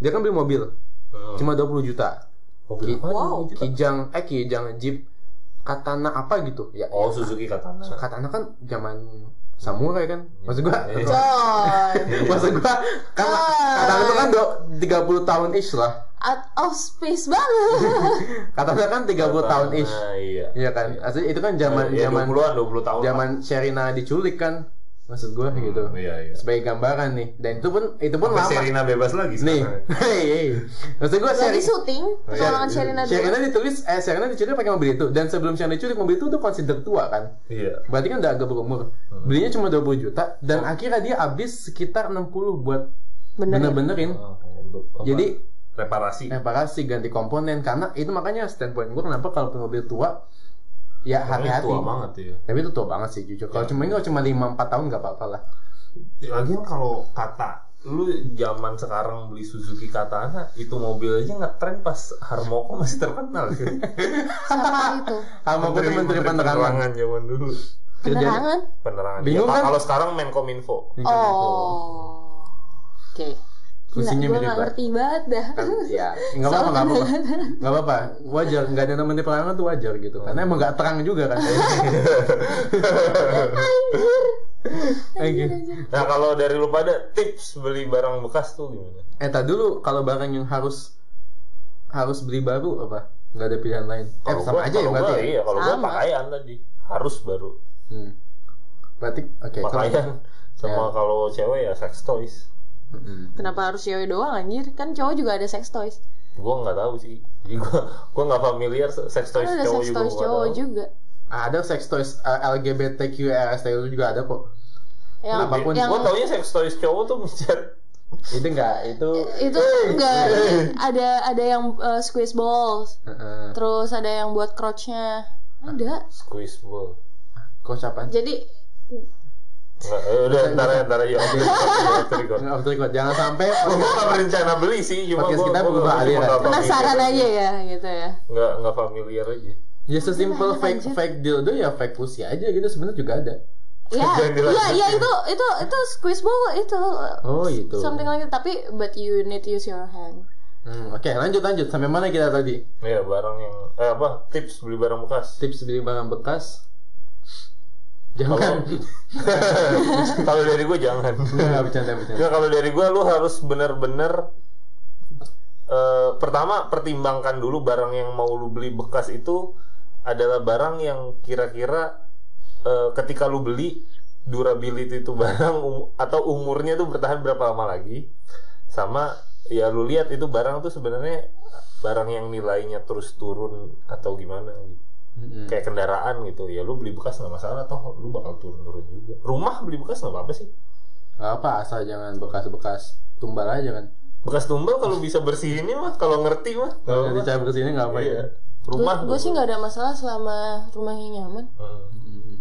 Speaker 3: Dia kan beli mobil,
Speaker 1: Hmm.
Speaker 3: cuma 20 juta.
Speaker 1: Mobil
Speaker 3: Ki-
Speaker 1: apa?
Speaker 2: Wow.
Speaker 3: Kijang, eh kijang jeep, katana apa gitu ya?
Speaker 1: oh Suzuki Katana
Speaker 3: Katana kan zaman samurai kan, maksud gua.
Speaker 1: Iya.
Speaker 2: Coy.
Speaker 3: maksud gua kan katana itu kan do- 30 tahun ish lah.
Speaker 2: Out of space banget.
Speaker 3: Katana kan 30 tahun ish.
Speaker 1: Nah, iya
Speaker 3: Iya kan, asli itu kan zaman
Speaker 1: ya,
Speaker 3: zaman
Speaker 1: 20-an 20 tahun
Speaker 3: zaman Sherina diculik kan maksud gue
Speaker 1: lah.
Speaker 3: gitu
Speaker 1: Hmm, iya iya
Speaker 3: sebagai gambaran nih dan itu pun itu pun
Speaker 1: Sampai
Speaker 3: lama
Speaker 1: Serena bebas lagi
Speaker 3: nih
Speaker 1: sekarang.
Speaker 3: hei hei maksud gue
Speaker 2: Lagi
Speaker 3: Sherina
Speaker 2: syuting petualangan Sherina dulu.
Speaker 3: Sherina ditulis eh Sherina diculik pakai mobil itu dan sebelum Sherina diculik mobil itu tuh consider tua kan
Speaker 1: iya
Speaker 3: berarti kan udah agak berumur
Speaker 1: Hmm.
Speaker 3: belinya cuma 20 juta dan akhirnya dia habis sekitar 60 buat bener-benerin
Speaker 1: Oh, untuk apa?
Speaker 3: jadi Nah,
Speaker 1: reparasi
Speaker 3: reparasi ganti komponen karena itu makanya standpoint gue kenapa kalau mobil tua ya
Speaker 1: Orangnya
Speaker 3: hati-hati
Speaker 1: tua banget Iya. ya
Speaker 3: tapi itu tua banget sih jujur kalau cuma kalau cuma 5-4 tahun nggak apa-apa lah
Speaker 1: Lagian kalau kata lu zaman sekarang beli Suzuki Katana itu mobil aja ngetren pas Harmoko masih terkenal sih.
Speaker 2: Sama itu.
Speaker 3: sama gue temen dari penerangan
Speaker 1: zaman dulu.
Speaker 2: Penerangan.
Speaker 1: Penerangan.
Speaker 3: Bingung
Speaker 1: Ya,
Speaker 3: kan?
Speaker 1: Kalau sekarang Menkominfo.
Speaker 2: Oh. Oke. Gila,
Speaker 3: Fungsinya
Speaker 2: gue
Speaker 3: mirip
Speaker 2: nggak
Speaker 3: lah.
Speaker 2: ngerti banget dah.
Speaker 3: Kan, ya nggak apa-apa nggak apa-apa nggak apa-apa wajar nggak ada temen di penerangan tuh wajar gitu
Speaker 1: Oh.
Speaker 3: karena emang nggak terang juga kan Oke.
Speaker 1: Nah kalau dari lu pada tips beli barang bekas tuh gimana?
Speaker 3: Eh, tak dulu kalau barang yang harus harus beli baru apa? Nggak ada pilihan lain. Eh,
Speaker 1: Kalau gua-
Speaker 3: sama aja ya
Speaker 1: kalau
Speaker 3: berarti.
Speaker 1: gua,
Speaker 3: ya?
Speaker 1: Iya kalau gua
Speaker 2: Sama.
Speaker 1: pakaian tadi harus baru
Speaker 3: Hmm. Berarti oke. kalau-
Speaker 1: pakaian. Sama
Speaker 3: Ya.
Speaker 1: kalau cewek ya sex toys.
Speaker 3: Mm-mm.
Speaker 2: Kenapa harus cewek doang anjir? Kan cowok juga ada sex toys.
Speaker 1: Gue nggak tahu sih. Jadi gue gue nggak familiar se- sex toys
Speaker 2: Kan ada
Speaker 1: cowok
Speaker 2: sex
Speaker 1: juga.
Speaker 2: toys
Speaker 1: gua nggak
Speaker 2: cowok
Speaker 1: tahu.
Speaker 2: juga.
Speaker 3: Ada sex toys eh, LGBTQRS itu juga ada kok.
Speaker 2: Yang,
Speaker 3: Apapun,
Speaker 2: yang
Speaker 1: Gue taunya sex toys cowok tuh mencet.
Speaker 3: Itu enggak, itu
Speaker 2: itu enggak ada ada yang eh, squeeze balls,
Speaker 3: Heeh.
Speaker 2: terus ada yang buat crotchnya. Ada.
Speaker 1: Squeeze ball.
Speaker 3: Coach apaan?
Speaker 2: Jadi
Speaker 1: Nggak, eh, udah ntar ya ntar ya. Gue
Speaker 3: Off the record. Jangan sampai
Speaker 1: nggak berencana beli sih, cuma
Speaker 3: Podcast
Speaker 1: gue
Speaker 3: kita berubah ya? aliran.
Speaker 2: penasaran aja ya gitu ya.
Speaker 1: Nggak nggak familiar aja.
Speaker 3: ya sesimpel fake fake dildo ya fake pussy aja gitu sebenarnya juga ada.
Speaker 2: Ya,
Speaker 1: Jangan
Speaker 2: ya,
Speaker 1: dilanjutin.
Speaker 2: ya itu itu itu squeeze ball itu
Speaker 3: Oh, itu.
Speaker 2: something like that. Tapi but you need to use your hand.
Speaker 3: Hmm, Oke, lanjut lanjut. Sampai mana kita tadi?
Speaker 1: Iya barang yang eh, apa tips beli barang bekas.
Speaker 3: Tips beli barang bekas. Jangan.
Speaker 1: kalau dari gue jangan.
Speaker 3: Enggak bercanda bercanda.
Speaker 1: Nggak, kalau dari gue lu harus bener-bener eh, pertama pertimbangkan dulu barang yang mau lu beli bekas itu adalah barang yang kira-kira eh, ketika lu beli durability itu barang um- atau umurnya tuh bertahan berapa lama lagi sama ya lu lihat itu barang tuh sebenarnya barang yang nilainya terus turun atau gimana gitu
Speaker 3: Mm-mm.
Speaker 1: kayak kendaraan gitu ya lu beli bekas nggak masalah toh lu bakal turun turun juga rumah beli bekas nggak apa apa sih
Speaker 3: Nggak apa asal jangan bekas-bekas tumbal aja kan.
Speaker 1: bekas tumbal kalau bisa bersihinnya mah kalau ngerti mah Nggak
Speaker 3: Kalau
Speaker 1: apa-apa.
Speaker 3: dicampur ke sini nggak apa
Speaker 1: Iya.
Speaker 3: ya.
Speaker 1: rumah gitu.
Speaker 2: Gue sih nggak ada masalah selama rumahnya nyaman.
Speaker 1: Hmm,
Speaker 3: Mm-mm.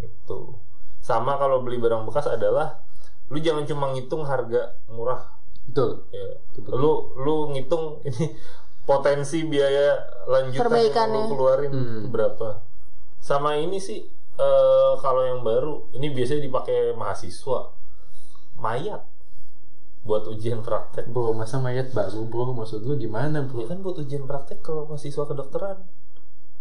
Speaker 1: itu gitu. sama kalau beli barang bekas adalah lu jangan cuma ngitung harga murah
Speaker 3: Betul.
Speaker 1: ya. lu lu ngitung ini potensi biaya lanjutan
Speaker 2: Perbaikannya.
Speaker 1: yang lu keluarin
Speaker 3: Hmm.
Speaker 1: berapa sama ini sih eh, kalau yang baru ini biasanya dipakai mahasiswa mayat buat ujian praktek
Speaker 3: Bro, masa mayat baru bro? Maksud lu gimana
Speaker 1: ya
Speaker 3: bro?
Speaker 1: kan buat ujian praktek kalau mahasiswa kedokteran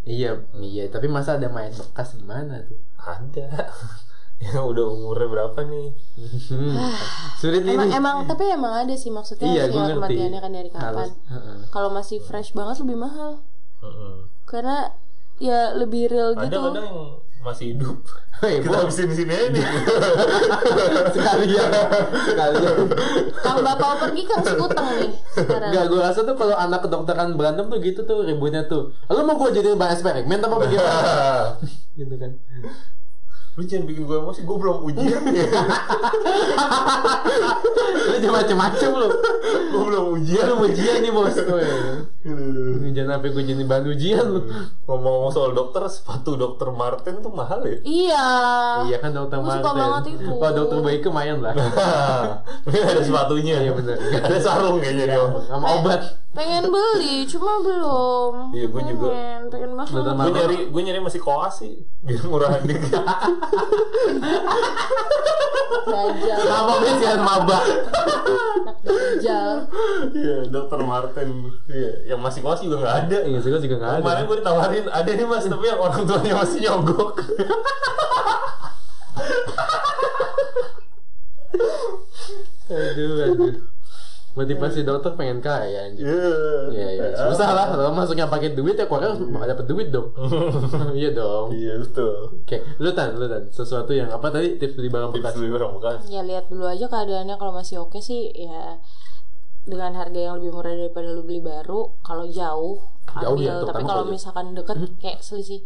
Speaker 3: Iya, iya. Tapi masa ada mayat bekas gimana tuh?
Speaker 1: ada yang udah umurnya berapa nih
Speaker 3: Hmm. Sulit ini.
Speaker 2: Emang, emang tapi emang ada sih maksudnya
Speaker 3: Iya,
Speaker 2: sih
Speaker 3: gua ngerti.
Speaker 2: kematiannya kan dari kapan.
Speaker 3: Harus. Heeh.
Speaker 2: Kalau masih fresh banget lebih mahal
Speaker 1: Mm-mm.
Speaker 2: karena ya lebih real
Speaker 1: ada
Speaker 2: gitu.
Speaker 1: kadang yang masih hidup
Speaker 3: Hei,
Speaker 1: kita
Speaker 3: bro,
Speaker 1: habisin di sini aja nih
Speaker 3: sekalian, sekalian.
Speaker 2: Kang bapak pergi Kang Sekuteng nih sekarang.
Speaker 3: Enggak, gue rasa tuh kalau anak kedokteran berantem tuh gitu tuh ributnya tuh. Lu mau gue jadiin bahan eksperimen apa bagaimana? gitu kan.
Speaker 1: lu jangan bikin gue emosi gue belum ujian ya
Speaker 3: Lu jangan macem-macem lu.
Speaker 1: gue belum ujian
Speaker 3: Dia lu ujian nih bos. Woy. Ini Jangan sampai gue jadi bahan ujian lu.
Speaker 1: ngomong-ngomong soal dokter sepatu dokter Martin tuh mahal ya
Speaker 2: Iya.
Speaker 3: Iya kan dokter
Speaker 2: Gua suka
Speaker 3: Martin.
Speaker 2: banget itu.
Speaker 3: Kalau dokter baik lumayan lah.
Speaker 1: ini ada sepatunya
Speaker 3: Iya, bener.
Speaker 1: ada sarung kayaknya dia
Speaker 3: Sama obat.
Speaker 2: Pengen beli cuma belum.
Speaker 1: Iya, gua juga.
Speaker 2: Pengen, pengen
Speaker 3: Dokter
Speaker 2: mahal.
Speaker 1: gue
Speaker 3: Martin.
Speaker 1: nyari gue nyari masih koas sih biar murahan dikit
Speaker 2: Dajal,
Speaker 3: Sama jangan maba.
Speaker 2: anak dajal.
Speaker 1: iya dokter Martin iya yang masih koas juga nggak ada
Speaker 3: Iya, sih gua juga nggak ada.
Speaker 1: Kemarin gue ditawarin, ada nih mas, tapi yang orang tuanya masih nyogok.
Speaker 3: Aduh, aduh. Motivasi dokter pengen kaya anjir. Iya, iya. Susah lah. Kalau masuknya pakai duit ya keluarnya harus dapat duit dong. iya dong.
Speaker 1: Iya betul.
Speaker 3: Oke, lu tan, lu tan. Sesuatu yang apa tadi tips beli barang
Speaker 1: Tips
Speaker 3: bekas.
Speaker 1: beli barang bekas.
Speaker 2: Ya lihat dulu aja keadaannya kalau masih oke sih ya dengan harga yang lebih murah daripada lu beli baru kalau jauh
Speaker 3: Jauh
Speaker 2: ambil
Speaker 3: ya,
Speaker 2: tapi
Speaker 3: terutama
Speaker 2: kalau
Speaker 3: kalau jauh.
Speaker 2: misalkan deket
Speaker 3: Mm-hmm.
Speaker 2: kayak selisih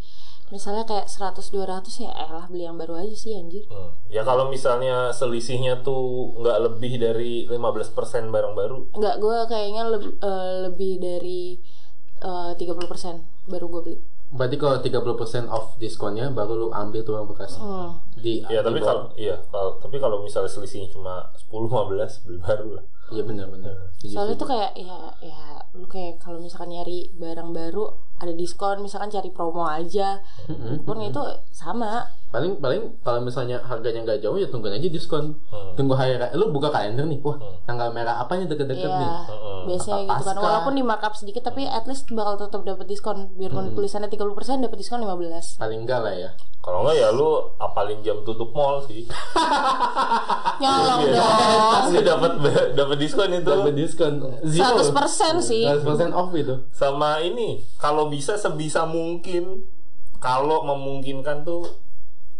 Speaker 2: misalnya kayak 100 200 ya elah beli yang baru aja sih anjir
Speaker 1: Hmm. Ya kalau misalnya selisihnya tuh nggak lebih dari 15% barang baru.
Speaker 2: Enggak, gue kayaknya leb- eh, lebih dari eh, tiga 30% baru gue beli.
Speaker 3: Berarti kalau 30% off diskonnya baru lu ambil tuh barang bekas.
Speaker 2: Hmm.
Speaker 3: Di
Speaker 1: Ya tapi
Speaker 3: di bawah.
Speaker 1: kalau iya, kalau tapi kalau misalnya selisihnya cuma 10 15 beli baru lah.
Speaker 3: Iya benar benar.
Speaker 2: Soalnya tuh kayak ya ya lu kayak kalau misalkan nyari barang baru ada diskon, misalkan cari promo aja.
Speaker 3: Mm-hmm.
Speaker 2: Pun itu sama.
Speaker 3: paling paling kalau misalnya harganya nggak jauh ya tungguin aja diskon.
Speaker 1: Hmm.
Speaker 3: Tunggu hari raya. Lu buka kalender nih. Wah, tanggal merah apa nih deket-deket nih.
Speaker 2: Iya.
Speaker 1: Mm-mm.
Speaker 2: Biasanya
Speaker 3: Apa
Speaker 2: gitu kan.
Speaker 3: pasca?
Speaker 2: Walaupun di markup sedikit tapi at least bakal tetap dapat diskon.
Speaker 1: Hmm.
Speaker 2: Biarpun tulisannya 30% dapat diskon 15.
Speaker 3: Paling enggak lah ya.
Speaker 1: Kalau nggak ya lu apalin jam tutup mall sih.
Speaker 2: Nyolong
Speaker 1: Iya.
Speaker 2: dong.
Speaker 1: Lu dapat dapat diskon itu.
Speaker 3: Dapat diskon
Speaker 1: Iya.
Speaker 3: zero.
Speaker 2: 100% sih.
Speaker 3: 100% off itu.
Speaker 1: sama ini kalau bisa sebisa mungkin kalau memungkinkan tuh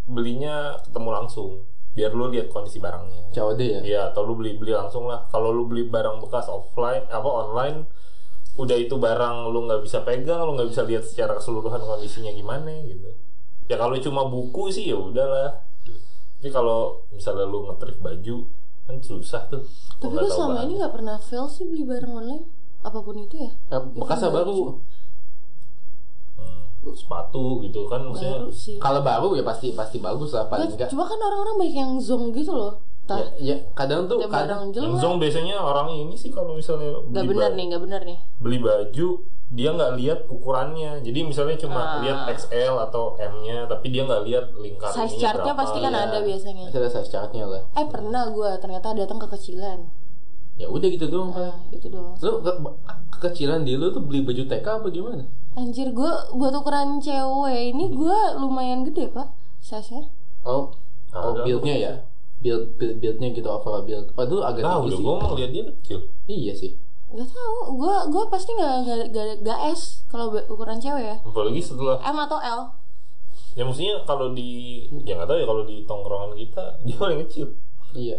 Speaker 1: belinya ketemu langsung biar lu lihat kondisi barangnya
Speaker 3: COD ya.
Speaker 1: Iya atau lu beli beli langsung lah kalau lu beli barang bekas offline apa online udah itu barang lu nggak bisa pegang, lu nggak bisa lihat secara keseluruhan kondisinya gimana gitu. Ya kalau cuma buku sih ya udahlah. Tapi kalau misalnya lu ngetrik baju kan susah tuh. Lu
Speaker 2: Tapi
Speaker 1: nggak
Speaker 2: gue
Speaker 1: tahu
Speaker 2: selama
Speaker 1: bahan.
Speaker 2: ini nggak pernah fail sih beli barang online apapun itu ya.
Speaker 3: Eh, Bekasnya baru.
Speaker 1: Hmm, sepatu gitu kan maksudnya.
Speaker 2: Baru sih.
Speaker 3: Kalau baru ya pasti pasti bagus lah paling
Speaker 2: Nggak,
Speaker 3: enggak.
Speaker 2: Cuma kan orang-orang banyak yang zong gitu loh.
Speaker 3: Ya,
Speaker 2: Tah,
Speaker 3: ya, kadang tuh
Speaker 2: ada barang
Speaker 3: kadang
Speaker 1: Iya, Yang
Speaker 2: jelek.
Speaker 1: zong biasanya orang ini sih kalau misalnya
Speaker 2: Gak
Speaker 1: beli,
Speaker 2: benar
Speaker 1: ba-
Speaker 2: nih, gak benar nih.
Speaker 1: beli baju dia nggak lihat ukurannya. Jadi misalnya
Speaker 2: Ah.
Speaker 1: cuma lihat XL atau M-nya, tapi dia nggak lihat lingkarannya
Speaker 2: Size chartnya
Speaker 1: berapa.
Speaker 2: pasti kan
Speaker 1: Iya.
Speaker 2: ada biasanya.
Speaker 3: pasti ada size chartnya lah.
Speaker 2: Eh pernah gue ternyata datang kekecilan.
Speaker 3: Ya udah gitu doang.
Speaker 1: Hmm.
Speaker 3: Pak.
Speaker 2: Ah, itu doang.
Speaker 3: Lu ke kekecilan di lu tuh beli baju TK apa gimana?
Speaker 2: Anjir gue buat ukuran cewek ini gue lumayan gede pak size-nya.
Speaker 3: Oh, oh
Speaker 1: Ada.
Speaker 3: build-nya ya. Build build build-nya gitu overall build. Oh, itu
Speaker 1: Tahu
Speaker 3: agak tinggi
Speaker 1: Ya, udah
Speaker 3: sih.
Speaker 1: gue mau lihat dia kecil.
Speaker 3: Iya sih.
Speaker 2: Gak tau, gue gua pasti gak, gak, gak, gak S kalau be- ukuran cewek ya.
Speaker 1: Apalagi setelah
Speaker 2: M atau L.
Speaker 1: ya maksudnya kalau di ya nggak tahu ya kalau di tongkrongan kita dia paling kecil.
Speaker 3: Iya.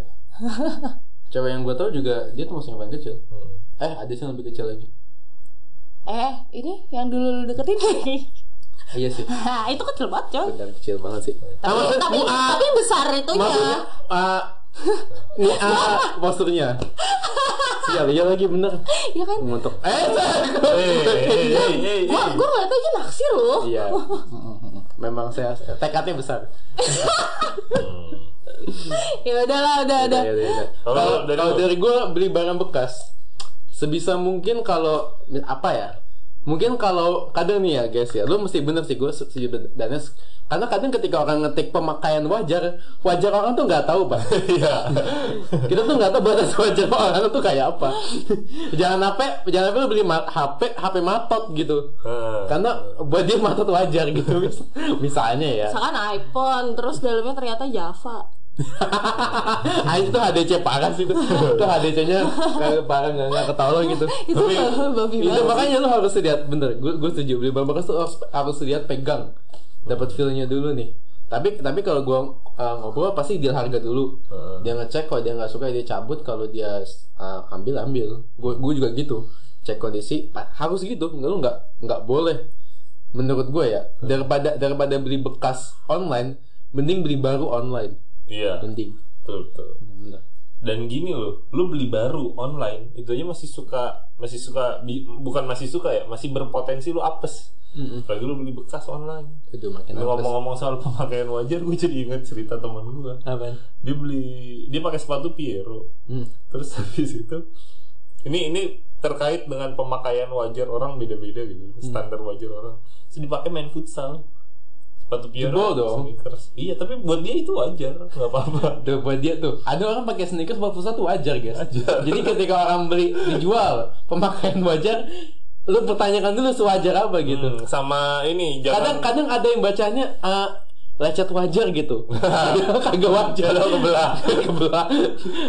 Speaker 3: Cewek yang gue tau juga dia tuh masih yang paling kecil.
Speaker 1: Hmm.
Speaker 3: Eh, ada sih yang lebih kecil lagi.
Speaker 2: Eh, ini yang dulu lu deketin.
Speaker 3: Iya sih.
Speaker 2: Hah, itu kecil banget coy.
Speaker 3: Benar kecil banget sih.
Speaker 2: Tapi,
Speaker 3: maksud-
Speaker 2: tapi,
Speaker 3: ah,
Speaker 2: tapi besar itunya.
Speaker 3: maksudnya ah, ini ah, posturnya. Sial, iya lagi bener.
Speaker 2: Ya kan?
Speaker 3: Mengutuk. Eh, saya-
Speaker 1: Hey, hey, hey, hey,
Speaker 2: Gua
Speaker 1: hey.
Speaker 2: gua nggak tahu dia naksir loh.
Speaker 3: Iya. Memang saya tekadnya besar.
Speaker 2: Ya udahlah, udah, udah.
Speaker 3: Iya, iya, iya.
Speaker 1: Kalau
Speaker 3: Kalau
Speaker 1: dari
Speaker 3: kalau
Speaker 1: lu?
Speaker 3: dari gue beli barang bekas sebisa mungkin kalau apa ya? Mungkin kalau kadang nih ya guys ya, lu mesti bener sih gue setuju Danes. Karena kadang ketika orang ngetik pemakaian wajar, wajar orang tuh nggak tahu pak.
Speaker 1: Iya.
Speaker 3: Kita tuh nggak tahu batas wajar orang tuh kayak apa. jangan apa, jangan apa lu beli ma- HP HP matot gitu.
Speaker 1: Ah.
Speaker 3: Karena buat dia matot wajar gitu misalnya ya.
Speaker 2: Misalkan iPhone, terus dalamnya ternyata Java.
Speaker 3: Ah itu HDC parah sih itu. Itu HDC-nya parah nggak nggak ketolong gitu.
Speaker 2: Itu
Speaker 3: Tapi-
Speaker 2: babi
Speaker 3: itu
Speaker 2: banget.
Speaker 3: makanya lu harus lihat bener. Gue gue setuju beli bahan bekas tuh harus, harus lihat pegang. Dapat feel-nya dulu nih. Tapi tapi kalau gua uh, ngobrol pasti deal harga dulu.
Speaker 1: Heeh.
Speaker 3: Dia ngecek kalau dia nggak suka dia cabut kalau dia uh, ambil ambil. Gue gue juga gitu. Cek kondisi pa- harus gitu. Nggak lu nggak nggak boleh. Menurut gue ya daripada daripada beli bekas online mending beli baru online.
Speaker 1: Iya.
Speaker 3: Mending.
Speaker 1: Betul, betul.
Speaker 3: Bener.
Speaker 1: dan gini loh lu beli baru online itu aja masih suka masih suka bi- bukan masih suka ya masih berpotensi lu apes apalagi lu beli bekas online
Speaker 3: Aduh makin
Speaker 1: Lu
Speaker 3: apes.
Speaker 1: ngomong-ngomong soal pemakaian wajar gue jadi inget cerita teman gue
Speaker 3: Apaan?
Speaker 1: dia beli dia pakai sepatu Piero
Speaker 3: Hmm.
Speaker 1: terus habis itu ini ini terkait dengan pemakaian wajar orang beda-beda gitu standar wajar orang terus dipakai main futsal sepatu Piero
Speaker 3: Jebol dong.
Speaker 1: sneakers iya tapi buat dia itu wajar nggak apa-apa
Speaker 3: Tuh buat dia tuh Ada orang pakai sneakers buat pusat tuh wajar guys Jadi ketika orang beli dijual Pemakaian wajar Lu pertanyakan dulu sewajar apa gitu
Speaker 1: Hmm, sama ini jangan
Speaker 3: Kadang-kadang ada yang bacanya eh, Lecet wajar gitu Padahal Kagak wajar
Speaker 1: Padahal kebelah.
Speaker 3: Kebelah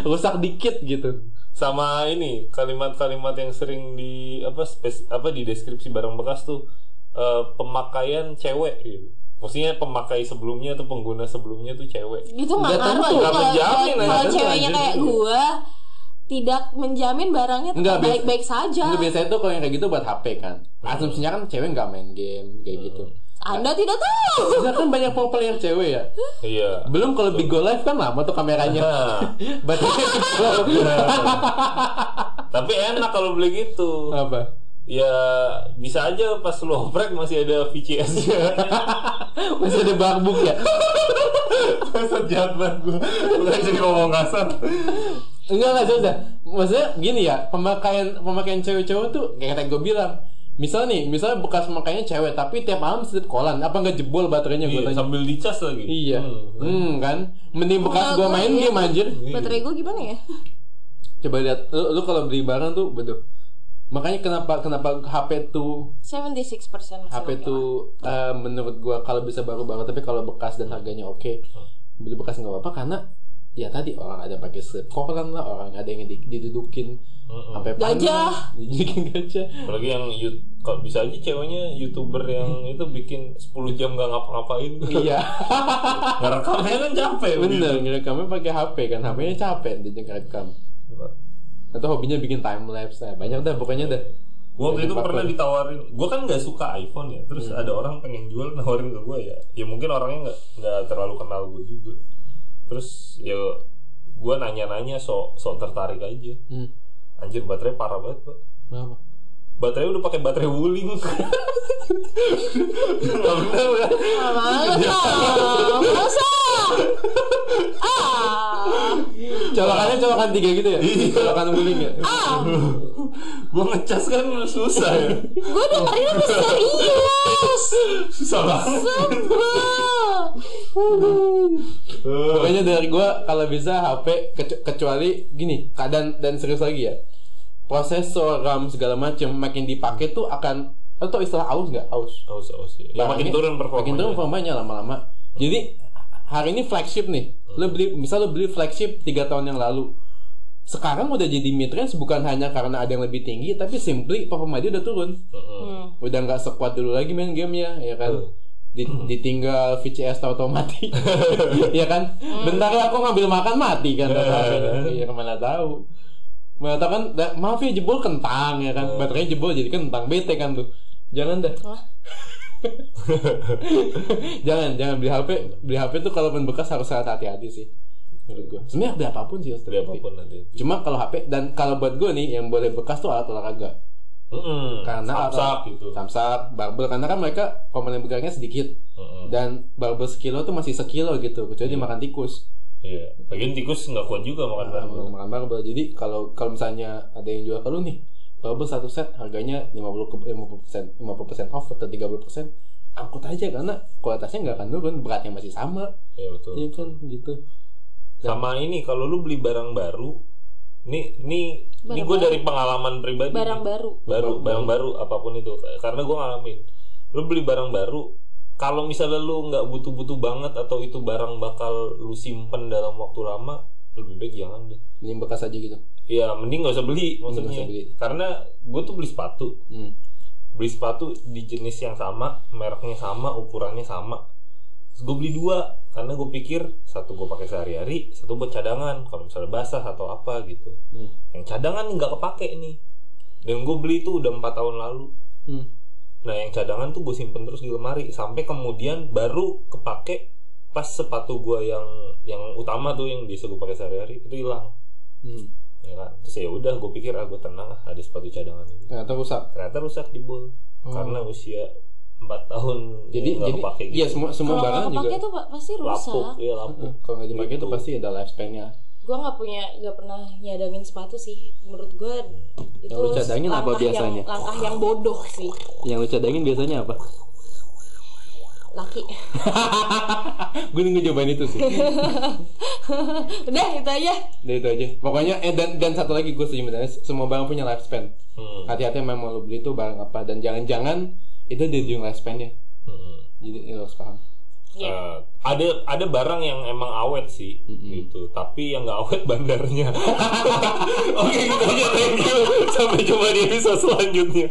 Speaker 3: Rusak dikit gitu
Speaker 1: sama ini kalimat-kalimat yang sering di apa spes, apa di deskripsi barang bekas tuh eh, pemakaian cewek gitu. Maksudnya pemakai sebelumnya atau pengguna sebelumnya tuh cewek.
Speaker 2: Itu nggak
Speaker 3: Nggak
Speaker 2: ngaruh.
Speaker 3: tentu.
Speaker 2: Kalau-
Speaker 1: Nggak menjamin,
Speaker 2: kalau-
Speaker 1: ya.
Speaker 2: Kalau
Speaker 1: Tentu
Speaker 2: ceweknya
Speaker 1: aja
Speaker 2: kayak
Speaker 1: dulu.
Speaker 2: gua tidak menjamin barangnya tetap
Speaker 3: Nggak, biasa-
Speaker 2: baik-baik saja.
Speaker 3: Itu biasanya tuh kalau yang kayak gitu buat HP kan Asumsinya kan cewek nggak main game Kayak gitu
Speaker 2: Anda tidak tahu.
Speaker 3: Biasanya kan banyak popel yang cewek ya
Speaker 1: Iya.
Speaker 3: Belum kalau Bigo Live kan lama tuh kameranya
Speaker 1: Nah,
Speaker 3: Baterainya kecil
Speaker 1: tapi enak kalau beli gitu.
Speaker 3: Apa?
Speaker 1: Ya bisa aja pas lu oprek masih ada VCS-nya.
Speaker 3: Masih ada barbuk ya?
Speaker 1: Kasar jahat banget gua. Udah jadi ngomong kasar.
Speaker 3: Enggak enggak sudah. Maksudnya gini ya, pemakaian pemakaian cewek-cewek tuh kayak tadi gue bilang. Misal nih, misalnya bekas pemakaiannya cewek tapi tiap malam setiap kolan, apa nggak jebol baterainya gue
Speaker 1: Iya,
Speaker 3: tanya?
Speaker 1: sambil dicas lagi.
Speaker 3: Iya.
Speaker 1: Hmm.
Speaker 3: Hmm, kan? Mending bekas
Speaker 2: Enggak,
Speaker 3: gue
Speaker 2: gua
Speaker 3: main
Speaker 2: iya.
Speaker 3: game anjir.
Speaker 2: Baterai gua gimana ya?
Speaker 3: Coba lihat lu, lu kalau beli barang tuh betul. Makanya kenapa kenapa HP tuh
Speaker 2: 76% masih
Speaker 3: HP
Speaker 2: oke lah.
Speaker 3: tuh eh, menurut gua kalau bisa baru-baru tapi kalau bekas dan harganya oke beli bekas nggak apa-apa karena ya tadi orang ada pakai slip koran lah orang ada yang di- didudukin
Speaker 1: Mm-mm.
Speaker 3: sampai panas,
Speaker 2: Gajah.
Speaker 3: didudukin gajah
Speaker 1: Apalagi yang you- kalau bisa aja ceweknya youtuber yang itu bikin 10 jam gak ngapa-ngapain
Speaker 3: iya
Speaker 1: Ngerekamnya kan capek
Speaker 3: bener ngerekamnya pakai HP kan HP-nya capek dia ngerekam atau hobinya bikin time lapse nah, banyak eh, dah pokoknya dah
Speaker 1: Gue waktu
Speaker 5: Jadi
Speaker 1: itu pernah
Speaker 5: pakai.
Speaker 1: ditawarin, gue kan nggak suka iPhone ya, terus
Speaker 3: Hmm.
Speaker 1: ada orang pengen jual nawarin ke gue ya, ya mungkin orangnya nggak nggak terlalu kenal gue juga, terus ya gue nanya-nanya so so tertarik aja,
Speaker 3: Hmm.
Speaker 1: anjir baterai parah banget pak,
Speaker 3: Kenapa?
Speaker 1: baterai udah pakai baterai wuling, nggak bener kan?
Speaker 3: Anu.
Speaker 2: Banget ah. Masa? Ah.
Speaker 3: Colokannya colokan tiga gitu ya? Colokan guling ya?
Speaker 2: Ah.
Speaker 1: Gue ngecas kan susah ya,
Speaker 2: Gue dengerin lu serius.
Speaker 1: susah banget.
Speaker 3: Hmm.
Speaker 2: Sebel.
Speaker 3: Pokoknya dari gua kalau bisa HP kecu- kecuali gini keadaan dan serius lagi ya prosesor RAM segala macem makin dipakai tuh akan lo tau istilah aus nggak aus
Speaker 1: Aus aus ya. Ya, makin
Speaker 3: Barangnya-
Speaker 1: turun performanya.
Speaker 3: makin turun performanya lama-lama jadi hari ini flagship nih lo beli misal lo beli flagship tiga tahun yang lalu sekarang udah jadi mid range bukan hanya karena ada yang lebih tinggi tapi simply performa dia udah turun
Speaker 1: Heeh.
Speaker 2: Hmm.
Speaker 3: udah nggak sekuat dulu lagi main gamenya ya kan Di- ditinggal VCS tau-tau mati ya kan bentar lah aku ngambil makan mati kan tau-tau HP-nya. iya kemana tahu mana tahu kan da- maaf ya jebol kentang ya kan baterainya jebol jadi kentang bete kan tuh jangan dah jangan jangan beli HP beli HP tuh kalau main bekas harus sangat hati-hati sih menurut gua sebenarnya beli apapun sih harus
Speaker 1: Beli
Speaker 3: hati-hati.
Speaker 1: apapun nanti.
Speaker 3: cuma kalau HP dan kalau buat gua nih yang boleh bekas tuh alat olahraga
Speaker 1: Heeh.
Speaker 3: karena
Speaker 1: Samsak gitu.
Speaker 3: samsak barbel karena kan mereka komponen bergeraknya sedikit
Speaker 1: Heeh.
Speaker 3: dan barbel sekilo tuh masih sekilo gitu kecuali dimakan tikus
Speaker 1: Iya. Lagian tikus nggak kuat juga makan
Speaker 3: Nah,
Speaker 1: barbel.
Speaker 3: belum makan barbel jadi kalau kalau misalnya ada yang jual ke lu nih barbel satu set harganya 50 ke 50 persen 50 off atau 30 angkut aja karena kualitasnya nggak akan turun beratnya masih sama
Speaker 1: Iya betul.
Speaker 3: ya kan gitu
Speaker 1: Sama ini kalau lu beli barang baru, nih nih ini
Speaker 2: Barang
Speaker 1: gue
Speaker 2: baru.
Speaker 1: dari pengalaman pribadi.
Speaker 2: Barang
Speaker 1: nih.
Speaker 2: baru.
Speaker 1: baru, barang baru apapun itu. Karena gue ngalamin. Lu beli barang baru, kalau misalnya lu nggak butuh-butuh banget atau itu barang bakal lu simpen dalam waktu lama, lebih baik jangan deh.
Speaker 3: ini bekas aja gitu
Speaker 1: Ya mending nggak usah beli
Speaker 3: Mending nggak
Speaker 1: maksudnya.
Speaker 3: usah beli.
Speaker 1: Karena gue tuh beli sepatu,
Speaker 3: hmm.
Speaker 1: beli sepatu di jenis yang sama, mereknya sama, ukurannya sama. Terus gue beli dua karena gue pikir satu gue pakai sehari-hari, satu buat cadangan kalau misalnya basah atau apa gitu.
Speaker 3: Hmm.
Speaker 1: Yang cadangan nggak kepake nih. Dan gue beli itu udah empat tahun lalu.
Speaker 3: Hmm.
Speaker 1: Nah yang cadangan tuh gue simpen terus di lemari sampai kemudian baru kepake pas sepatu gue yang yang utama tuh yang biasa gue pakai sehari-hari itu hilang.
Speaker 3: Hmm.
Speaker 1: Ya kan? Terus ya udah gue pikir ah gue tenang ah, ada sepatu cadangan ini
Speaker 3: ternyata rusak
Speaker 1: ternyata rusak jebol
Speaker 3: Oh.
Speaker 1: karena usia 4 tahun
Speaker 3: jadi
Speaker 1: nggak
Speaker 3: jadi
Speaker 1: kepake gitu.
Speaker 3: iya semua semua
Speaker 2: Kalau
Speaker 3: barang
Speaker 2: nggak
Speaker 3: juga
Speaker 2: kepake tuh pa- pasti
Speaker 1: lapuk
Speaker 2: rusak.
Speaker 1: iya lapuk
Speaker 3: kalau nggak dipakai itu
Speaker 1: Gitu.
Speaker 3: pasti ada lifespan-nya
Speaker 2: Gue nggak punya, nggak pernah nyadangin sepatu sih. Menurut gue itu
Speaker 3: Yang lu cadangin apa
Speaker 2: langkah
Speaker 3: biasanya?
Speaker 2: Yang, langkah yang bodoh sih,
Speaker 3: yang lu cadangin biasanya apa
Speaker 2: laki.
Speaker 3: gue nunggu jawaban itu sih
Speaker 2: Udah itu aja.
Speaker 3: Udah itu aja pokoknya eh dan dan satu lagi gue setuju sama Dennis, semua barang punya lifespan
Speaker 1: Hmm,
Speaker 3: hati-hati memang lo beli itu barang apa dan jangan-jangan itu di ujung lifespannya
Speaker 1: hmm.
Speaker 3: jadi ya, lo harus paham
Speaker 2: Iya.
Speaker 1: Eh, ada ada barang yang emang awet sih gitu tapi yang nggak awet bandarnya oke gitu aja thank you sampai jumpa di episode selanjutnya